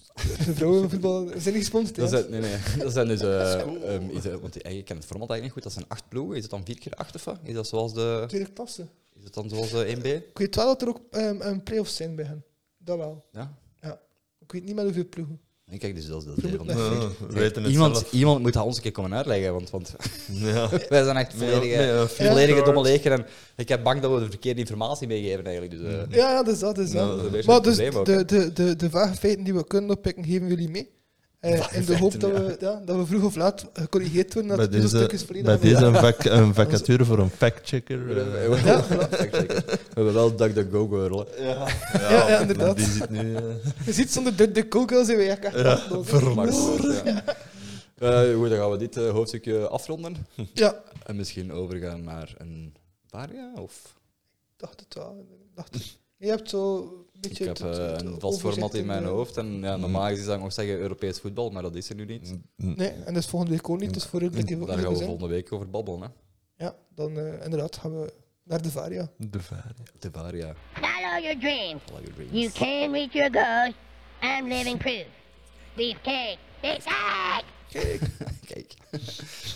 Speaker 2: De vrouwenvoetbal zijn niet gesponsord.
Speaker 1: Dat
Speaker 2: hè?
Speaker 1: zijn, nee, nee, dat zijn dus... eh, ehm, is, eh, want eh, je kent het format eigenlijk niet goed. Dat zijn acht ploegen. Is het dan vier keer acht of wat? Is dat zoals de,
Speaker 2: Tweede klasse.
Speaker 1: is het dan zoals eh, de 1B?
Speaker 2: Ik weet wel dat er ook ehm, een play-offs zijn bij hen. Dat wel.
Speaker 1: Ja?
Speaker 2: Ja. Ik Ik weet niet meer hoeveel ploegen.
Speaker 1: En kijk, dus dat is dat deel van de
Speaker 2: Ja,
Speaker 1: vier.
Speaker 3: we weten het
Speaker 1: iemand,
Speaker 3: zelf.
Speaker 1: iemand moet dat ons een keer komen uitleggen, want, want
Speaker 3: Ja.
Speaker 1: wij zijn echt
Speaker 3: Met-
Speaker 1: volledige,
Speaker 3: met
Speaker 1: volledige
Speaker 3: een flipchart.
Speaker 1: domme leger. En ik heb bang dat we de verkeerde informatie meegeven eigenlijk. Dus, eh,
Speaker 3: Ja.
Speaker 2: Ja, ja, dus dat is
Speaker 3: Nou,
Speaker 2: dat.
Speaker 1: dat is een beetje
Speaker 2: Maar
Speaker 1: het
Speaker 2: dus
Speaker 1: probleem ook.
Speaker 2: de, de, de, de vage feiten die we kunnen oppikken, geven jullie mee. Eh,
Speaker 1: Vage
Speaker 2: in de hoop
Speaker 1: feiten,
Speaker 2: dat, we, ja, dat we vroeg of laat gecorrigeerd worden.
Speaker 3: Bij
Speaker 2: Dat het stuk is
Speaker 3: deze,
Speaker 2: volledig
Speaker 3: bij
Speaker 2: aan de-
Speaker 3: deze een, vac- een vacature voor een factchecker. eh.
Speaker 1: We hebben wel DuckDuckGo rollen.
Speaker 3: Ja,
Speaker 2: Ja, ja, inderdaad.
Speaker 3: Die zit nu. eh,
Speaker 2: Je ziet, zonder de, de kogel zijn we echt echt
Speaker 3: Ja,
Speaker 2: afgelopen.
Speaker 1: Maar goed, ja. Eh, goed, dan gaan we dit eh, hoofdstukje afronden.
Speaker 2: Ja,
Speaker 1: En misschien overgaan naar een paar jaar of...
Speaker 2: ik dacht het wel. Ik Dacht het. Je hebt zo een
Speaker 1: Ik
Speaker 2: beetje...
Speaker 1: heb
Speaker 2: het-
Speaker 1: eh,
Speaker 2: het- het
Speaker 1: een vast
Speaker 2: overzicht eh,
Speaker 1: format in mijn
Speaker 2: de-
Speaker 1: hoofd. En ja, normaal gezien zou ik nog zeggen Europees voetbal, maar dat is er nu niet.
Speaker 2: Nee, en dat is volgende week ook niet, dus voor jullie
Speaker 1: Daar gaan we volgende week over babbelen. Hè.
Speaker 2: Ja, dan eh, inderdaad gaan we naar de Varia.
Speaker 3: De vader.
Speaker 1: De Varia.
Speaker 4: Follow your dreams.
Speaker 1: All your dreams.
Speaker 4: You can reach your goals. I'm living proof. Beef cake. Beef cake!
Speaker 1: Kijk.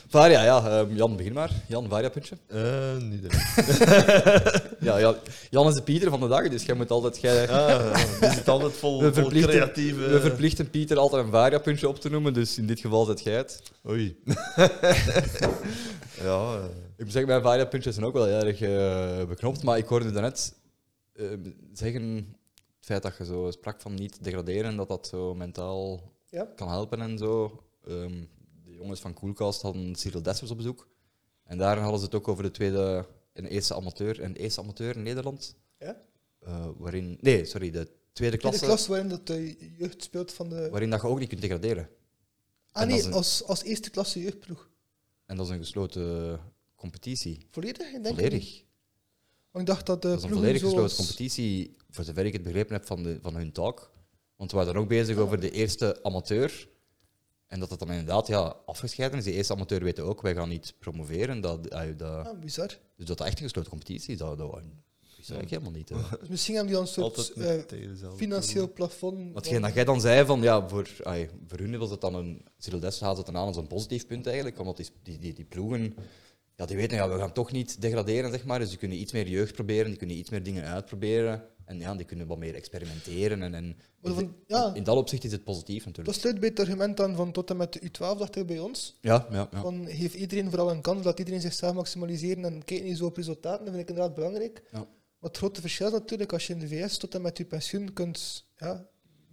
Speaker 1: Varia, ja. ehm, Jan, begin maar. Jan, Varia-puntje.
Speaker 3: Eh, niet echt.
Speaker 1: Ja, Jan, Jan is de Pieter van de dag, dus jij moet altijd... Jij,
Speaker 3: Ah, die zit altijd vol,
Speaker 1: we,
Speaker 3: vol
Speaker 1: verplichten,
Speaker 3: creatieve.
Speaker 1: we verplichten Pieter altijd een Varia-puntje op te noemen, dus in dit geval zet jij het.
Speaker 3: Oei. ja, eh,
Speaker 1: Ik moet zeggen, mijn Varia-puntjes zijn ook wel heel erg eh, beknopt, maar ik hoorde daarnet net zeggen, het feit dat je zo sprak van niet degraderen, dat dat zo mentaal
Speaker 2: Ja.
Speaker 1: kan helpen en zo. Ehm, de jongens van Coolcast hadden Cyril Dessers op bezoek. En daar hadden ze het ook over de tweede en eerste amateur en de eerste amateur in Nederland.
Speaker 2: Ja?
Speaker 1: eh, waarin, nee, sorry, de tweede
Speaker 2: In de
Speaker 1: klasse,
Speaker 2: klas waarin dat de jeugd speelt van de...
Speaker 1: waarin dat je ook niet kunt degraderen.
Speaker 2: Ah
Speaker 1: En dat is
Speaker 2: nee,
Speaker 1: een-
Speaker 2: als, als eerste klasse jeugdploeg.
Speaker 1: En dat is een gesloten competitie.
Speaker 2: Volledig? Ik denk het niet.
Speaker 1: Volledig.
Speaker 2: Want ik dacht dat de
Speaker 1: Dat is een
Speaker 2: ploegen
Speaker 1: volledig gesloten
Speaker 2: zoals-
Speaker 1: competitie, voor zover ik het begrepen heb van, de, van hun talk. Want we waren dan ook bezig over de eerste amateur. En dat het dan inderdaad ja, afgescheiden is. Die eerste amateur weten ook, wij gaan niet promoveren. Dat, ah, dat,
Speaker 2: Ah, bizar.
Speaker 1: dus dat dat echt een gesloten competitie is, dat, dat, dat wist ik helemaal niet. eh. hè.
Speaker 2: Dus misschien hebben die dan een soort
Speaker 3: altijd met-
Speaker 2: eh,
Speaker 3: tegen dezelfde.
Speaker 2: financieel plafond.
Speaker 1: Watgeen dat jij dan zei, van, ja, voor, ah, voor hun was het dan een... Cyril Dessers haalt het dan aan als een positief punt eigenlijk. Omdat die, die, die, die ploegen... Ja, die weten, ja, we gaan toch niet degraderen, zeg maar. Dus die kunnen iets meer jeugd proberen, die kunnen iets meer dingen uitproberen. En ja, die kunnen wat meer experimenteren. En, en
Speaker 2: Maar van- ja.
Speaker 1: In dat opzicht is het positief
Speaker 2: Dat
Speaker 1: natuurlijk.
Speaker 2: sluit bij het argument aan van tot en met de U12, dacht ik bij ons.
Speaker 1: Ja, ja, ja.
Speaker 2: Van geef iedereen vooral een kans, laat iedereen zichzelf maximaliseren en kijk niet zo op resultaten. Dat vind ik inderdaad belangrijk.
Speaker 1: Ja.
Speaker 2: Maar het grote verschil is natuurlijk, als je in de VS tot en met je pensioen kunt, ja,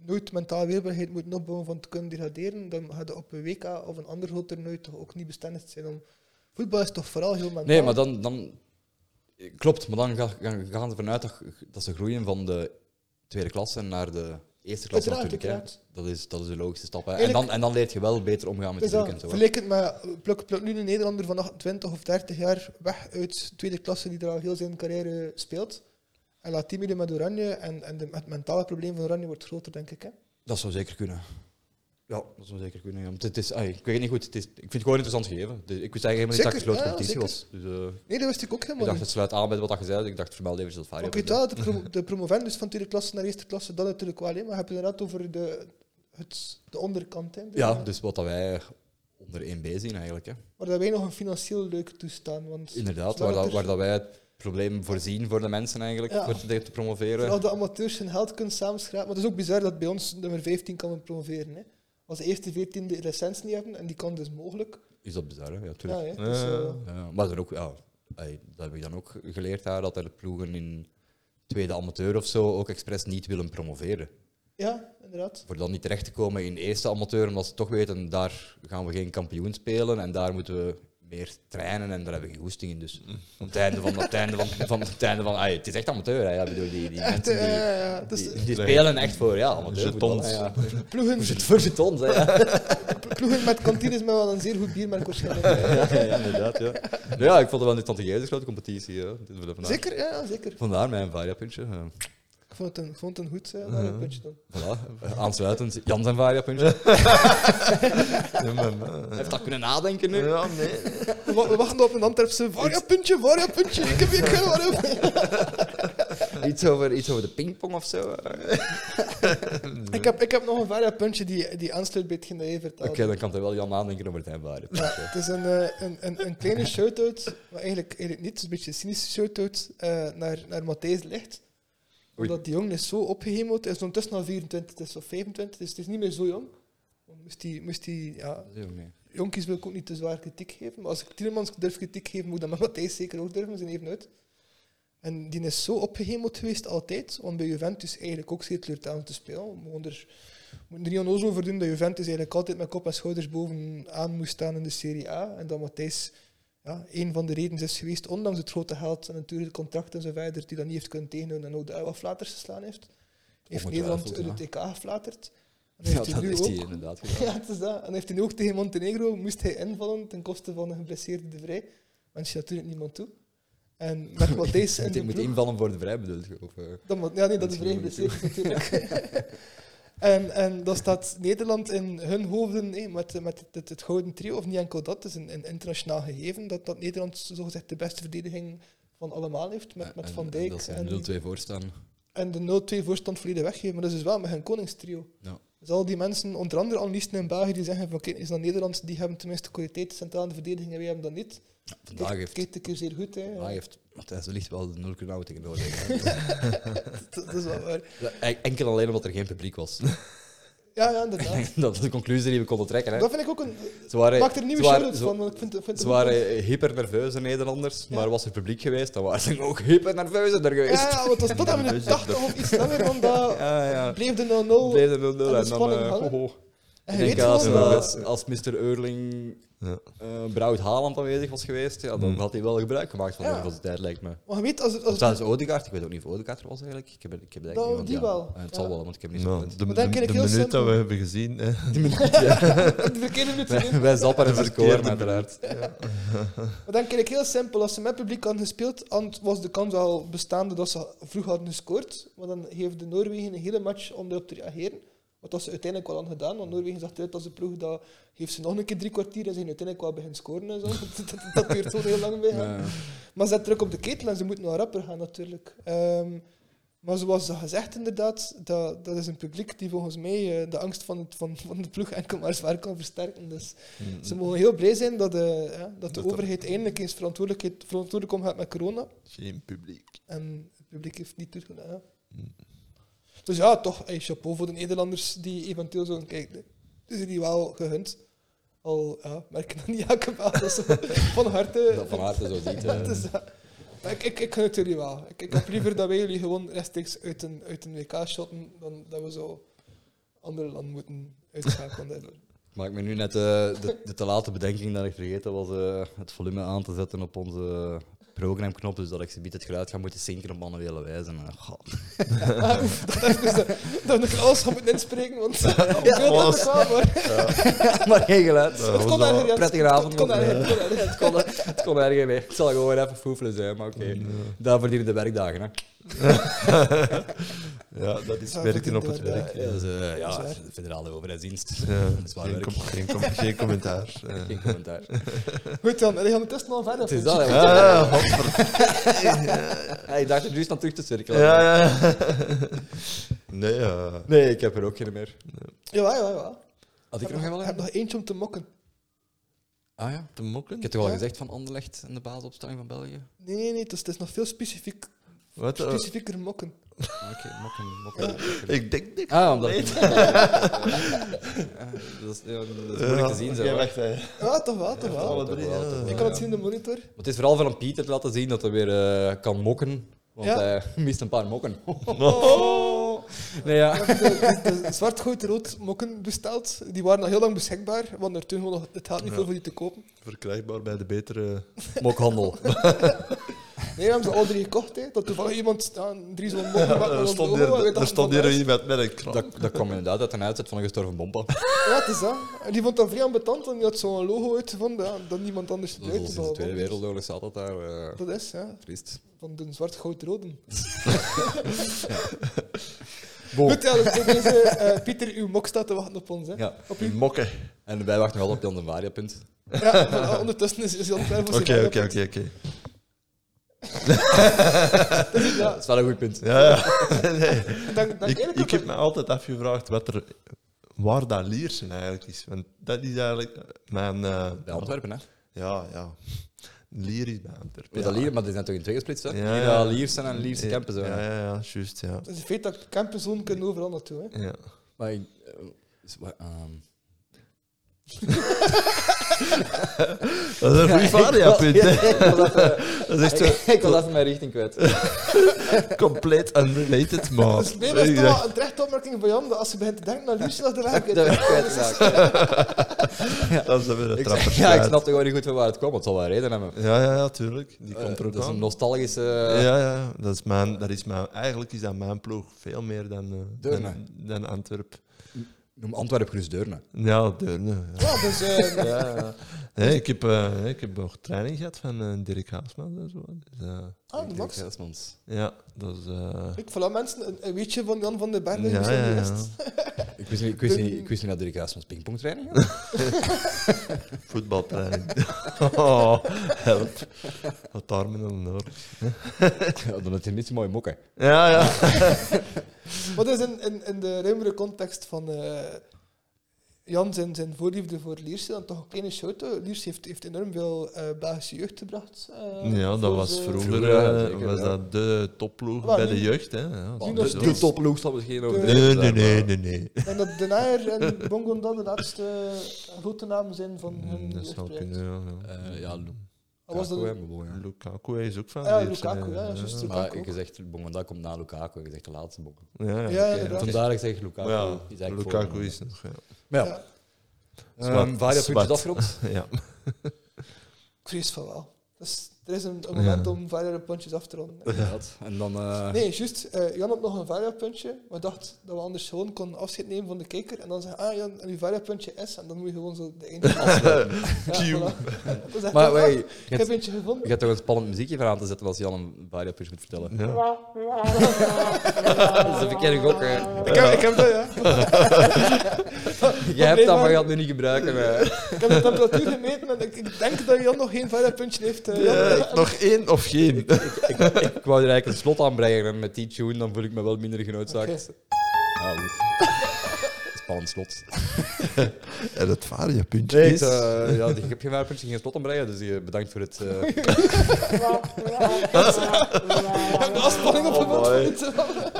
Speaker 2: nooit mentaal weerbaarheid moet opbouwen van te kunnen degraderen, dan ga je op een WK of een ander groot toernooi toch ook niet bestendigd zijn. Om... Voetbal is toch vooral heel mentaal.
Speaker 1: Nee, maar dan... dan klopt, maar dan ga- gaan, gaan ze vanuit dat, dat ze groeien van de tweede klasse naar de eerste klasse
Speaker 2: Uiteraard,
Speaker 1: natuurlijk. hè.
Speaker 2: uiteraard.
Speaker 1: Dat is, dat is de logische stap. Hè. En,
Speaker 2: Eigenlijk-
Speaker 1: dan, en dan leert je wel beter omgaan met
Speaker 2: Dus
Speaker 1: de
Speaker 2: dat,
Speaker 1: druk en zo. hè.
Speaker 2: vergelijk het met, pluk, pluk nu een Nederlander van 28 of 30 jaar weg uit tweede klasse die er al heel zijn carrière speelt. En laat die midden met Oranje en, en de, het mentale probleem van Oranje wordt groter, denk ik. Hè?
Speaker 1: Dat zou zeker kunnen. Ja, dat zou zeker kunnen. ja. Want het is, ah, ik weet het niet goed. Het is, ik vind het gewoon interessant gegeven. Dus ik wist eigenlijk helemaal niet dat het gesloten
Speaker 2: Zeker, ja,
Speaker 1: competitie was.
Speaker 2: zeker.
Speaker 1: Dus, eh,
Speaker 2: Nee, dat wist ik ook
Speaker 1: ik
Speaker 2: helemaal
Speaker 1: dacht,
Speaker 2: niet.
Speaker 1: het sluit aan bij wat je zei. Ik dacht, vermeld even dat
Speaker 2: Maar
Speaker 1: Varia.
Speaker 2: ik weet wel dat de, pro- de promovendus van tweede klasse naar eerste klasse, dat natuurlijk wel. hè, Maar je hebt het inderdaad over de, het, de onderkant. Hè,
Speaker 1: Ja, dus wat dat wij onder 1B zien eigenlijk. Hè.
Speaker 2: Maar dat wij nog een financieel leuk toestaan. Want
Speaker 1: Inderdaad, waar,
Speaker 2: zolang
Speaker 1: dat,
Speaker 2: er-
Speaker 1: waar dat wij het probleem voorzien voor de mensen eigenlijk,
Speaker 2: Ja.
Speaker 1: voor te, te promoveren.
Speaker 2: Terwijl de amateurs hun geld kunnen samenschrapen. Maar het is ook bizar dat bij ons nummer 15 kan men promoveren. Hè. Als de eerste 14 de licentie niet hebben, en die kan dus mogelijk.
Speaker 1: Is dat bizar, hè? Ja,
Speaker 2: Ja,
Speaker 1: tuurlijk.
Speaker 2: hè. Dus, eh,
Speaker 3: Ja.
Speaker 1: Ja, maar dan ook, ja, ey, dat heb ik dan ook geleerd daar, dat er ploegen in tweede amateur of zo ook expres niet willen promoveren.
Speaker 2: ja, inderdaad.
Speaker 1: voor dan niet terecht te komen in eerste amateur, omdat ze toch weten, daar gaan we geen kampioen spelen en daar moeten we meer trainen en daar hebben we geen goesting in. Dus op het einde van, op het einde van, van, op het einde van ai, het is echt amateur, hè. Ja, ik bedoel, die, die
Speaker 2: Echt,
Speaker 1: mensen
Speaker 2: eh,
Speaker 1: die,
Speaker 2: ja, ja. Dus
Speaker 1: die, die spelen echt voor, ja, amateur.
Speaker 3: Jetons.
Speaker 1: Ja,
Speaker 2: ploegen,
Speaker 1: ja. Voor jetons, hè, ja.
Speaker 2: eh, ploegen met kantines met wel een zeer goed biermerk waarschijnlijk.
Speaker 1: ja, ja, ja, inderdaad, ja. Nou ja, ik vond het wel een tante Jezus grote competitie, hè. Dit willen we vandaag-
Speaker 2: Zeker, ja, ja, zeker.
Speaker 1: Vandaar mijn varia-puntje. eh.
Speaker 2: Ik vond het een, ik vond het een goed eh, maar een puntje dan.
Speaker 1: Voilà. Eh, Aansluitend, Jan zijn varia-puntje.
Speaker 3: Ja, maar, maar,
Speaker 1: Heeft dat kunnen nadenken nu?
Speaker 3: ja, nee.
Speaker 2: We, wa- we wachten op een Antwerpse Varia-puntje, Varia-puntje. Ik heb hier geen Varia-puntje.
Speaker 1: Iets over, iets over de pingpong of zo? eh.
Speaker 2: Ik heb, ik heb nog een Varia-puntje die, die aansluit bij hetgeen dat jij vertelde.
Speaker 1: Oké, dan kan er wel Jan nadenken over het heenbare.
Speaker 2: Ja, het is een, eh, een, een, een kleine shout-out, maar eigenlijk, eigenlijk niet, het is een beetje een cynische shout-out eh, naar, naar Matthijs Licht.
Speaker 1: Oei.
Speaker 2: Omdat die jongen is zo opgehemeld, hij is ondertussen al 24 is of 25, dus het is niet meer zo jong. Want Moest die, moest die, ja,
Speaker 1: Dat is ook mee.
Speaker 2: jonkies wil ik ook niet te zwaar kritiek geven, maar als ik Tielemans durf kritiek geven, moet ik dat met Matthijs zeker ook durven, zijn even uit. En die is zo opgehemeld geweest altijd, om bij Juventus eigenlijk ook zeer teleurstellend te spelen. We moeten er- we moeten er niet onnozel over doen dat Juventus eigenlijk altijd met kop en schouders bovenaan moest staan in de Serie A. En dat Matthijs ja, een van de redenen is geweest, ondanks het grote geld en natuurlijk de contracten en zo verder, die dat niet heeft kunnen tegenhouden en ook de wat flaters geslaan heeft.
Speaker 1: Oh,
Speaker 2: Heeft Nederland uit
Speaker 1: Ongetwijfeld,
Speaker 2: het TK geflaterd.
Speaker 1: Ja,
Speaker 2: En heeft hij
Speaker 1: dat
Speaker 2: nu
Speaker 1: heeft
Speaker 2: ook-
Speaker 1: hij inderdaad gedaan.
Speaker 2: ja, het is dat. En hij heeft hij nu ook tegen Montenegro moest hij invallen ten koste van een geblesseerde De Vrij. Want je natuurlijk niemand toe. En met Matthijs in
Speaker 1: Moet,
Speaker 2: de
Speaker 1: moet
Speaker 2: ploeg...
Speaker 1: invallen voor de vrij bedoeld. je, Of, eh?
Speaker 2: Dan, moet- ja, nee,
Speaker 1: Dat
Speaker 2: dat is
Speaker 1: is
Speaker 2: vrij
Speaker 1: niemand
Speaker 2: geblesseerd natuurlijk. en, en dan staat Nederland in hun hoofden hé, met, met het, het, het gouden trio, of niet enkel dat, het is een, een internationaal gegeven, dat, dat Nederland zogezegd de beste verdediging van allemaal heeft, met, met
Speaker 1: En-
Speaker 2: Van
Speaker 1: en
Speaker 2: Dijk
Speaker 1: Dat ze
Speaker 2: en-
Speaker 1: er 0-2 voor staan.
Speaker 2: en de 0-2 voorstand volledig weggeven. Maar dat is dus wel met hun koningstrio.
Speaker 1: Ja.
Speaker 2: Dus al die mensen, onder andere analisten in België, die zeggen van kijk, is dat Nederlands, die hebben tenminste kwaliteit centraal in de verdediging en wij hebben dat niet.
Speaker 1: Vandaag
Speaker 2: Kijk-
Speaker 1: heeft,
Speaker 2: Kijkt een keer zeer goed, hè.
Speaker 1: vandaag heeft Matthijs de Ligt wel de 0 kunnen houden tegen Noorwegen.
Speaker 2: Dat, dat is wel waar.
Speaker 1: Ja, en- Enkel alleen omdat er geen publiek was.
Speaker 2: Ja, ja, inderdaad.
Speaker 1: dat is de conclusie die we konden trekken. Hè.
Speaker 2: Dat vind ik ook een...
Speaker 1: Ze waren,
Speaker 2: Maak er een nieuwe
Speaker 1: ze waren-
Speaker 2: shout-out
Speaker 1: ze-
Speaker 2: van, want ik vind, vind het
Speaker 1: Ze
Speaker 2: een goed
Speaker 1: waren hyper nerveuze Nederlanders, maar was er publiek geweest, dan waren ze ook hyper nerveuzer
Speaker 2: punt.
Speaker 1: geweest.
Speaker 2: Ja, ja, want dat was tot aan de
Speaker 3: Dus
Speaker 2: 80 of iets langer dan dat.
Speaker 1: Ah, ja.
Speaker 2: Bleef de 0-0.
Speaker 1: Bleef er 0-0
Speaker 2: En de
Speaker 1: en dan...
Speaker 2: spanning
Speaker 1: eh,
Speaker 2: hangen.
Speaker 1: ho, ho.
Speaker 2: En
Speaker 1: Ik
Speaker 2: je
Speaker 1: denk
Speaker 2: weet
Speaker 1: als,
Speaker 2: gewoon,
Speaker 3: wel,
Speaker 1: als, als Mr. Eurling
Speaker 3: Ja.
Speaker 1: eh Brouwt Haaland aanwezig was geweest, ja, dan
Speaker 3: Hmm.
Speaker 1: had hij wel gebruik gemaakt van
Speaker 2: Ja.
Speaker 1: de universiteit, lijkt me.
Speaker 2: maar je weet, als, het- als,
Speaker 1: Of
Speaker 2: het-
Speaker 1: trouwens Odegaard, ik weet ook niet of Odegaard er was eigenlijk. Ik heb, ik heb het eigenlijk
Speaker 2: Nou,
Speaker 1: niet, want
Speaker 2: die
Speaker 1: ja,
Speaker 2: wel.
Speaker 1: eh, Het
Speaker 2: Ja.
Speaker 1: zal wel, want ik heb niet
Speaker 3: Nou,
Speaker 1: zo
Speaker 3: de, de,
Speaker 2: Maar dan ken ik
Speaker 3: de
Speaker 2: heel
Speaker 3: minuut
Speaker 2: simpel.
Speaker 3: dat we hebben gezien, hè,
Speaker 2: de verkeerde minuut erin.
Speaker 1: Wij zappen en
Speaker 3: verkeerde
Speaker 1: verkoren, uiteraard.
Speaker 2: Maar dan kijk ik heel simpel. Als ze met publiek hadden gespeeld, dan was de kans al bestaande dat ze vroeg hadden gescoord. Maar dan heeft de Noorwegen een hele match om daarop te reageren. Wat dat ze uiteindelijk wel hadden gedaan. Want Noorwegen zag eruit als een ploeg dat heeft ze nog een keer drie kwartier en zijn uiteindelijk wel begint scoren en zo. dat, dat, dat duurt zo heel lang bij hen.
Speaker 1: Ja.
Speaker 2: Maar ze zetten druk op de ketel en ze moeten wel rapper gaan natuurlijk. Ehm, maar zoals ze gezegd inderdaad, dat, dat is een publiek die volgens mij eh, de angst van, het, van, van de ploeg enkel maar zwaar kan versterken. Dus ze mogen heel blij zijn dat de, ja, dat de
Speaker 3: Dat dat-
Speaker 2: overheid eindelijk eens verantwoordelijkheid- verantwoordelijk omgaat met corona.
Speaker 3: geen publiek.
Speaker 2: En het publiek heeft niet toegedaan. Ja.
Speaker 3: Mm.
Speaker 2: Dus ja, toch, hey, chapeau voor de Nederlanders die eventueel zo'n kijken. Dus die wel gegund. Al ja, merk ik dan niet elke maand dat ze van harte.
Speaker 1: Dat van harte zo ziet.
Speaker 2: Ja,
Speaker 1: eh.
Speaker 2: het is dat. Maar ik, ik, ik gun het jullie wel. Ik, ik heb liever dat wij jullie gewoon rechtstreeks uit een, uit een WK shotten dan dat we zo andere landen moeten uitschakelen. daardoor.
Speaker 1: Ik maak me nu net eh, de, de te late bedenking dat ik vergeten was eh, het volume aan te zetten op onze programknop, dus dat ik ze biedt het geluid ga moeten zinken op manuele wijze. En, eh, goh.
Speaker 2: Ah, oef, dat dacht ik dus dat, dat ik alles gaan moeten inspreken, want ik wil dat
Speaker 3: alles.
Speaker 2: ook wel, maar
Speaker 1: maar geen geluid.
Speaker 3: Ja,
Speaker 2: het
Speaker 3: was
Speaker 2: kon
Speaker 3: dat-
Speaker 2: erger. ja.
Speaker 1: Prettige avond.
Speaker 2: Het kon
Speaker 1: nog, eh.
Speaker 2: erger, het kon erger.
Speaker 1: Het kon, het kon erger, nee. Het zal gewoon even foefelen zijn, maar oké.
Speaker 3: Mm.
Speaker 1: Daar verdienen de werkdagen, hè.
Speaker 3: Ja, dat is
Speaker 2: Ja,
Speaker 3: werken op het
Speaker 2: inderdaad,
Speaker 3: werk.
Speaker 1: Ja, dus, eh, ja,
Speaker 2: Dat is
Speaker 1: de federale overheidsdienst.
Speaker 3: Ja,
Speaker 1: Dat is waar
Speaker 3: geen, eh.
Speaker 1: werk.
Speaker 3: com- geen, com- geen commentaar. Ja.
Speaker 1: Geen commentaar.
Speaker 2: Goed dan, dan gaan we testen al verder.
Speaker 1: Het is
Speaker 2: vind
Speaker 1: dat,
Speaker 2: je?
Speaker 1: hè. want-
Speaker 3: Ah, hopper.
Speaker 1: Ja, ik dacht er juist aan terug te cirkelen.
Speaker 3: Ja, ja. Nee, eh,
Speaker 1: Nee, ik heb er ook geen meer.
Speaker 2: Jawel, jawel, jawel.
Speaker 1: Had ik
Speaker 2: Ik
Speaker 1: er nog een wel
Speaker 2: heb
Speaker 1: hebben?
Speaker 2: nog eentje om te mokken.
Speaker 1: Ah ja.
Speaker 3: te mokken?
Speaker 1: Ik heb toch al
Speaker 2: Ja.
Speaker 1: gezegd van Anderlecht en de basisopstelling van België?
Speaker 2: Nee, nee, nee, het is, het is nog veel specifiek,
Speaker 3: Wat? eh,
Speaker 2: specifieker mokken.
Speaker 1: Ah, Oké, mokken, mokken. mokken.
Speaker 3: ik denk niks.
Speaker 1: Ah, omdat ik... Ah, dat, is, ja, dat is moeilijk te zien, zo.
Speaker 3: Jij
Speaker 1: hè.
Speaker 3: wacht, hè.
Speaker 2: Ja, toch wel, toch wel.
Speaker 3: alle
Speaker 1: toch
Speaker 3: drie,
Speaker 1: wel,
Speaker 3: ja.
Speaker 1: toch wel,
Speaker 2: Ik kan het
Speaker 1: ja.
Speaker 2: zien in de monitor.
Speaker 1: Maar Het is vooral van Pieter te laten zien dat hij weer eh, kan mokken. Want
Speaker 2: Ja.
Speaker 1: hij mist een paar mokken.
Speaker 2: Oh.
Speaker 1: nee, ja.
Speaker 2: Ik heb de, de, de zwart, goed, rood mokken besteld. Die waren al heel lang beschikbaar, want er toen gewoon nog het geld niet voor om die te kopen.
Speaker 3: Verkrijgbaar bij de betere...
Speaker 1: Mokhandel.
Speaker 2: Nee, we hebben ze al drie gekocht. Hè. Dat toevallig iemand ja, drie zo'n mokken met
Speaker 3: Eh, Er
Speaker 2: een
Speaker 3: stond
Speaker 2: logo,
Speaker 3: hier,
Speaker 2: weet
Speaker 3: er
Speaker 2: dat
Speaker 3: stond
Speaker 2: van
Speaker 3: hier
Speaker 2: huis.
Speaker 3: iemand met een krant.
Speaker 1: Dat, dat kwam inderdaad uit een uitzet van een gestorven bompa.
Speaker 2: Ja, het is dat. En die vond dat vrij ambetant, want die had zo'n logo uitgevonden ja, dat niemand anders
Speaker 1: Dus al
Speaker 2: gebruikte.
Speaker 1: sinds de Tweede Wereldoorlog zat dat daar. eh,
Speaker 2: Dat is, ja.
Speaker 1: triest.
Speaker 2: Van de zwart-goud-roden.
Speaker 1: Bon.
Speaker 2: Goed, ja, dus bij deze, eh, Pieter, uw mok staat te wachten op ons. Hè.
Speaker 1: Ja.
Speaker 3: Die Mokken.
Speaker 1: En wij wachten nog altijd op Jan de Varia-punt.
Speaker 2: Ja, voilà, ondertussen is is Jan klaar voor zijn
Speaker 3: Oké,
Speaker 2: eigen
Speaker 3: oké,
Speaker 2: punt.
Speaker 3: oké, oké.
Speaker 1: Dat is wel een goed punt.
Speaker 3: Ja, ja.
Speaker 2: Dank, dank
Speaker 3: Ik,
Speaker 2: eigenlijk
Speaker 3: ik
Speaker 2: ook
Speaker 3: heb me altijd afgevraagd wat er, waar dat Liersen eigenlijk is. Want dat is eigenlijk mijn... eh,
Speaker 1: Bij Antwerpen, hè?
Speaker 3: ja, ja. Lier is bij Antwerpen.
Speaker 1: Met dat Lier, maar die zijn toch in twee gesplitst, hè?
Speaker 3: Ja,
Speaker 1: Lier,
Speaker 3: ja.
Speaker 1: eh, Lierse en Lierse Kempenzone.
Speaker 3: Ja, ja, ja, juist, ja.
Speaker 2: Dat is het feit Dus dat de campuszone kunnen overal naartoe. Hè.
Speaker 3: ja.
Speaker 1: Maar ik... eh, is- wa- ehm,
Speaker 3: Dat is een goede
Speaker 1: Ja,
Speaker 3: varia-punt, hè.
Speaker 1: ik wil dat, eh,
Speaker 3: Dat is echt zo
Speaker 1: Ik wil dat in mijn richting kwijt.
Speaker 3: compleet unrelated, maar...
Speaker 2: Dus nee, dat is toch wel een terechte opmerking van Jan, dat als je begint te denken naar Liefslag, dan heb ik
Speaker 1: Dat
Speaker 2: het.
Speaker 1: werd ik kwijtgeraakt.
Speaker 3: Dat is dan weer een
Speaker 1: Ik-
Speaker 3: trapper.
Speaker 1: Ja, ik snapte gewoon niet goed van waar het kwam, want het zal wel reden hebben.
Speaker 3: Ja, ja, ja, tuurlijk. Die
Speaker 1: Eh,
Speaker 3: komt er ook
Speaker 1: dat is
Speaker 3: aan.
Speaker 1: een nostalgische...
Speaker 3: ja, ja, dat is mijn, dat is mijn, eigenlijk is dat mijn ploeg veel meer dan, eh, dan,
Speaker 1: Deurne.
Speaker 3: dan Antwerp.
Speaker 1: Noem Antwerpen gerust Deurne.
Speaker 2: Ah,
Speaker 3: Ja, Deurne. Ja.
Speaker 2: Ja, dus eh,
Speaker 3: Ja, ja.
Speaker 2: Dus-
Speaker 3: Nee, ik, heb, eh, ik heb nog training gehad van eh, Dirk Haasman en zo. Dus, eh,
Speaker 2: ah, de
Speaker 1: Ik
Speaker 2: Max.
Speaker 1: denk Gelsmans.
Speaker 3: ja, dat is... eh,
Speaker 2: Ik voilà, mensen, een- een weetje van Jan van den Bergen.
Speaker 3: ja,
Speaker 2: Ja,
Speaker 3: ja, ja.
Speaker 1: Ik wist niet, ik wist niet, ik wist niet dat Dirk Haasmans pingpongtraining had.
Speaker 3: Voetbaltraining. oh, help. Wat daar met een oor.
Speaker 1: Ja, dan had hij niet zo mooi mokken.
Speaker 3: Ja, ja.
Speaker 2: Maar dus in, in, in de ruimere context van eh, Jan zijn, zijn voorliefde voor Lierse, dan toch een kleine shout-out. Lierse heeft, heeft enorm veel eh Belgische jeugd gebracht. eh,
Speaker 3: Ja, dat
Speaker 2: voor
Speaker 3: was
Speaker 2: ze-
Speaker 3: vroeger,
Speaker 1: Vroeger, ja,
Speaker 3: eh,
Speaker 1: zeker,
Speaker 3: was
Speaker 1: ja.
Speaker 3: dat de topploeg
Speaker 2: Wel,
Speaker 3: bij
Speaker 2: nu-
Speaker 3: de jeugd. Hè? Ja,
Speaker 2: nu
Speaker 3: dat
Speaker 2: nog
Speaker 3: is-
Speaker 2: steeds.
Speaker 1: De topploeg zal misschien over.
Speaker 3: Nee, nee, nee, nee, nee.
Speaker 2: En dat De Naer en Bongonda de laatste eh, grote namen zijn van hun
Speaker 3: Mm, Dat zou
Speaker 2: jeugdproject.
Speaker 3: kunnen, ja. ja.
Speaker 1: Eh, ja, Lu-
Speaker 2: Wat Ah, was dat?
Speaker 1: Lukaku, hè, maar bon, ja.
Speaker 3: Lukaku is ook van eh,
Speaker 2: Ja,
Speaker 3: Leers,
Speaker 2: Lukaku,
Speaker 3: hè.
Speaker 2: ja, juist.
Speaker 1: Maar
Speaker 2: Lukaku.
Speaker 1: ik gezegd, bon, dat komt na Lukaku. Ik zeg de laatste bon.
Speaker 3: Ja, ja.
Speaker 2: Ja,
Speaker 3: oké.
Speaker 2: inderdaad.
Speaker 1: Vandaar dat ik zeg Lukaku.
Speaker 3: Maar
Speaker 1: is
Speaker 3: ja,
Speaker 1: eigenlijk voor- eh.
Speaker 3: Lukaku is nog. Ja.
Speaker 1: Maar
Speaker 2: Ja.
Speaker 1: ja.
Speaker 3: Zwart,
Speaker 1: Ehm, Varia
Speaker 3: zwart.
Speaker 1: puntjes afgerond.
Speaker 3: ja.
Speaker 2: Ik vrees van wel. Dus er is een, een moment
Speaker 3: Ja.
Speaker 2: om variële puntjes af te ronden.
Speaker 1: Inderdaad. En dan... eh,
Speaker 2: Nee, juist. eh, Jan had nog een variapuntje. We dachten dat we anders gewoon konden afscheid nemen van de kijker. En dan zeggen, ah Jan, en uw variapuntje is. En dan moet je gewoon zo de eentje afsluiten. ja, voilà. Dat is echt
Speaker 1: Maar
Speaker 2: wel-
Speaker 1: wij,
Speaker 2: ah, ik heb eentje gevonden.
Speaker 1: je hebt toch een spannend muziekje van aan te zetten als Jan een Varia puntje moet vertellen.
Speaker 3: Ja.
Speaker 1: Dat is een verkeerde gok. hè.
Speaker 2: Ik heb, ik heb dat, ja.
Speaker 1: Jij hebt dat, maar
Speaker 2: maar-
Speaker 1: je gaat het nu niet gebruiken. hè.
Speaker 2: Ik heb de temperatuur gemeten en ik, ik denk dat Jan nog geen variapuntje heeft. eh, Jan.
Speaker 3: Eh, nog één of geen?
Speaker 1: Ik wou er eigenlijk een slot aan brengen en met die tune, dan voel ik me wel minder genoodzaakt.
Speaker 2: Oké.
Speaker 1: Ja, goed. Spannend slot.
Speaker 3: en het variapuntje
Speaker 1: Nee,
Speaker 3: is...
Speaker 1: ik, eh, ja, ik heb geen waarpuntje, geen slot aanbrengen, dus eh, bedankt voor het... eh,
Speaker 2: Ik heb de afspanning op
Speaker 3: Oh,
Speaker 2: de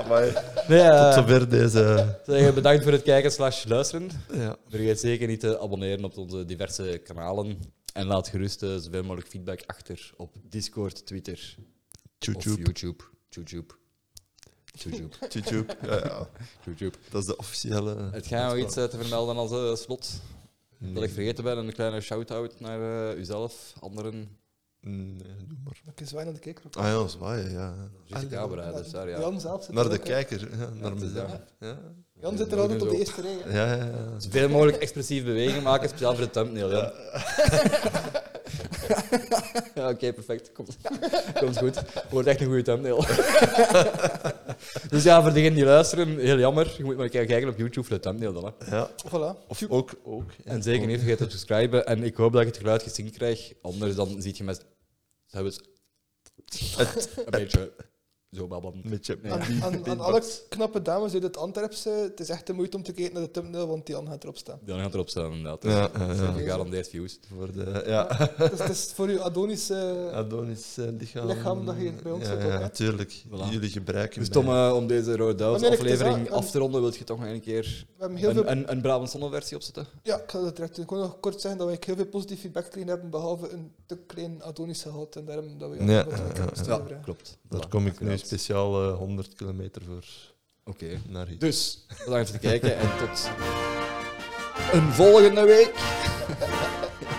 Speaker 2: mond.
Speaker 1: nee, eh,
Speaker 3: Tot zover deze...
Speaker 1: zeggen bedankt voor het kijken slash luisteren.
Speaker 3: Ja.
Speaker 1: Vergeet zeker niet te abonneren op onze diverse kanalen. En laat gerust eh, zoveel mogelijk feedback achter op Discord, Twitter of
Speaker 3: YouTube.
Speaker 1: YouTube. YouTube. YouTube.
Speaker 3: YouTube. Ja, ja.
Speaker 1: YouTube.
Speaker 3: Dat is de officiële...
Speaker 1: Het gaat nog iets eh, te vermelden als eh, slot. Dat ik vergeten ben, een kleine shout-out naar eh, uzelf, anderen.
Speaker 3: Nee, doe maar.
Speaker 2: Ik zwaai naar de kijker.
Speaker 3: Ah ja, zwaaien, Ah, ja.
Speaker 1: Dus de camera, dus daar ja.
Speaker 2: Jan zelf zit
Speaker 3: Naar
Speaker 2: er
Speaker 3: de
Speaker 2: ook, hè.
Speaker 3: kijker, ja, naar
Speaker 1: het is
Speaker 3: mezelf.
Speaker 1: dat.
Speaker 3: Ja,
Speaker 2: Jan zit er altijd op de
Speaker 1: Zo.
Speaker 2: eerste rij. hè.
Speaker 3: ja, ja. ja.
Speaker 1: Zoveel Dus mogelijk expressieve bewegingen maken, speciaal voor de thumbnail. Ja, ja oké, perfect. Komt, komt goed. Wordt echt een goede thumbnail. dus ja, voor degenen die luisteren, heel jammer. Je moet maar kijken op YouTube voor de thumbnail dan. Hè.
Speaker 3: ja.
Speaker 2: Voilà.
Speaker 3: Of ook, ook.
Speaker 1: En zeker niet vergeten te subscriben. En ik hoop dat je het geluid gesync krijgt. Anders dan ziet je mensen... Ze hebben het een beetje zo babbelen.
Speaker 3: Met je
Speaker 1: Ja.
Speaker 2: Aan, aan, aan alle knappe dames uit het Antwerpse, het is echt de moeite om te kijken naar de thumbnail, want Jan gaat erop staan.
Speaker 1: Dan gaat erop staan, inderdaad.
Speaker 3: Ja, ja, ja.
Speaker 1: Gegarandeerd views.
Speaker 3: Voor de, ja.
Speaker 2: Dus het is voor uw Adonis... eh,
Speaker 3: Adonis eh, lichaam.
Speaker 2: Lichaam dat je bij ons
Speaker 3: ja,
Speaker 2: hebt ook,
Speaker 3: Ja,
Speaker 2: hè?
Speaker 3: natuurlijk. Jullie gebruiken
Speaker 1: Dus
Speaker 3: mij.
Speaker 1: Tom, eh, om deze Rode Duivels
Speaker 2: Maar nee, ik- het
Speaker 1: aflevering
Speaker 2: is wel-
Speaker 1: af te ronden, wil je toch nog een keer
Speaker 2: we hebben heel veel
Speaker 1: een, een, een Brabant Zonne versie opzetten?
Speaker 2: Ja, ik ga dat direct doen. Ik wil nog kort zeggen dat wij heel veel positief feedback gekregen hebben, behalve een te klein Adonis gehaald. En daarom dat we
Speaker 3: Ja,
Speaker 2: wat
Speaker 3: ja,
Speaker 2: we
Speaker 3: ja,
Speaker 2: kunnen
Speaker 1: eh, Ja,
Speaker 2: sturen.
Speaker 1: klopt.
Speaker 3: Daar
Speaker 1: Voilà,
Speaker 3: kom ik nu
Speaker 1: akkoord.
Speaker 3: speciaal eh, 100 kilometer voor
Speaker 1: Oké.
Speaker 3: naar hier.
Speaker 1: Dus, bedankt voor het kijken en tot een volgende week.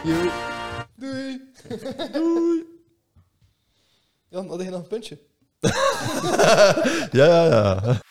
Speaker 1: Joe.
Speaker 2: Doei! Jan, had je nog een puntje?
Speaker 3: Ja, ja, ja.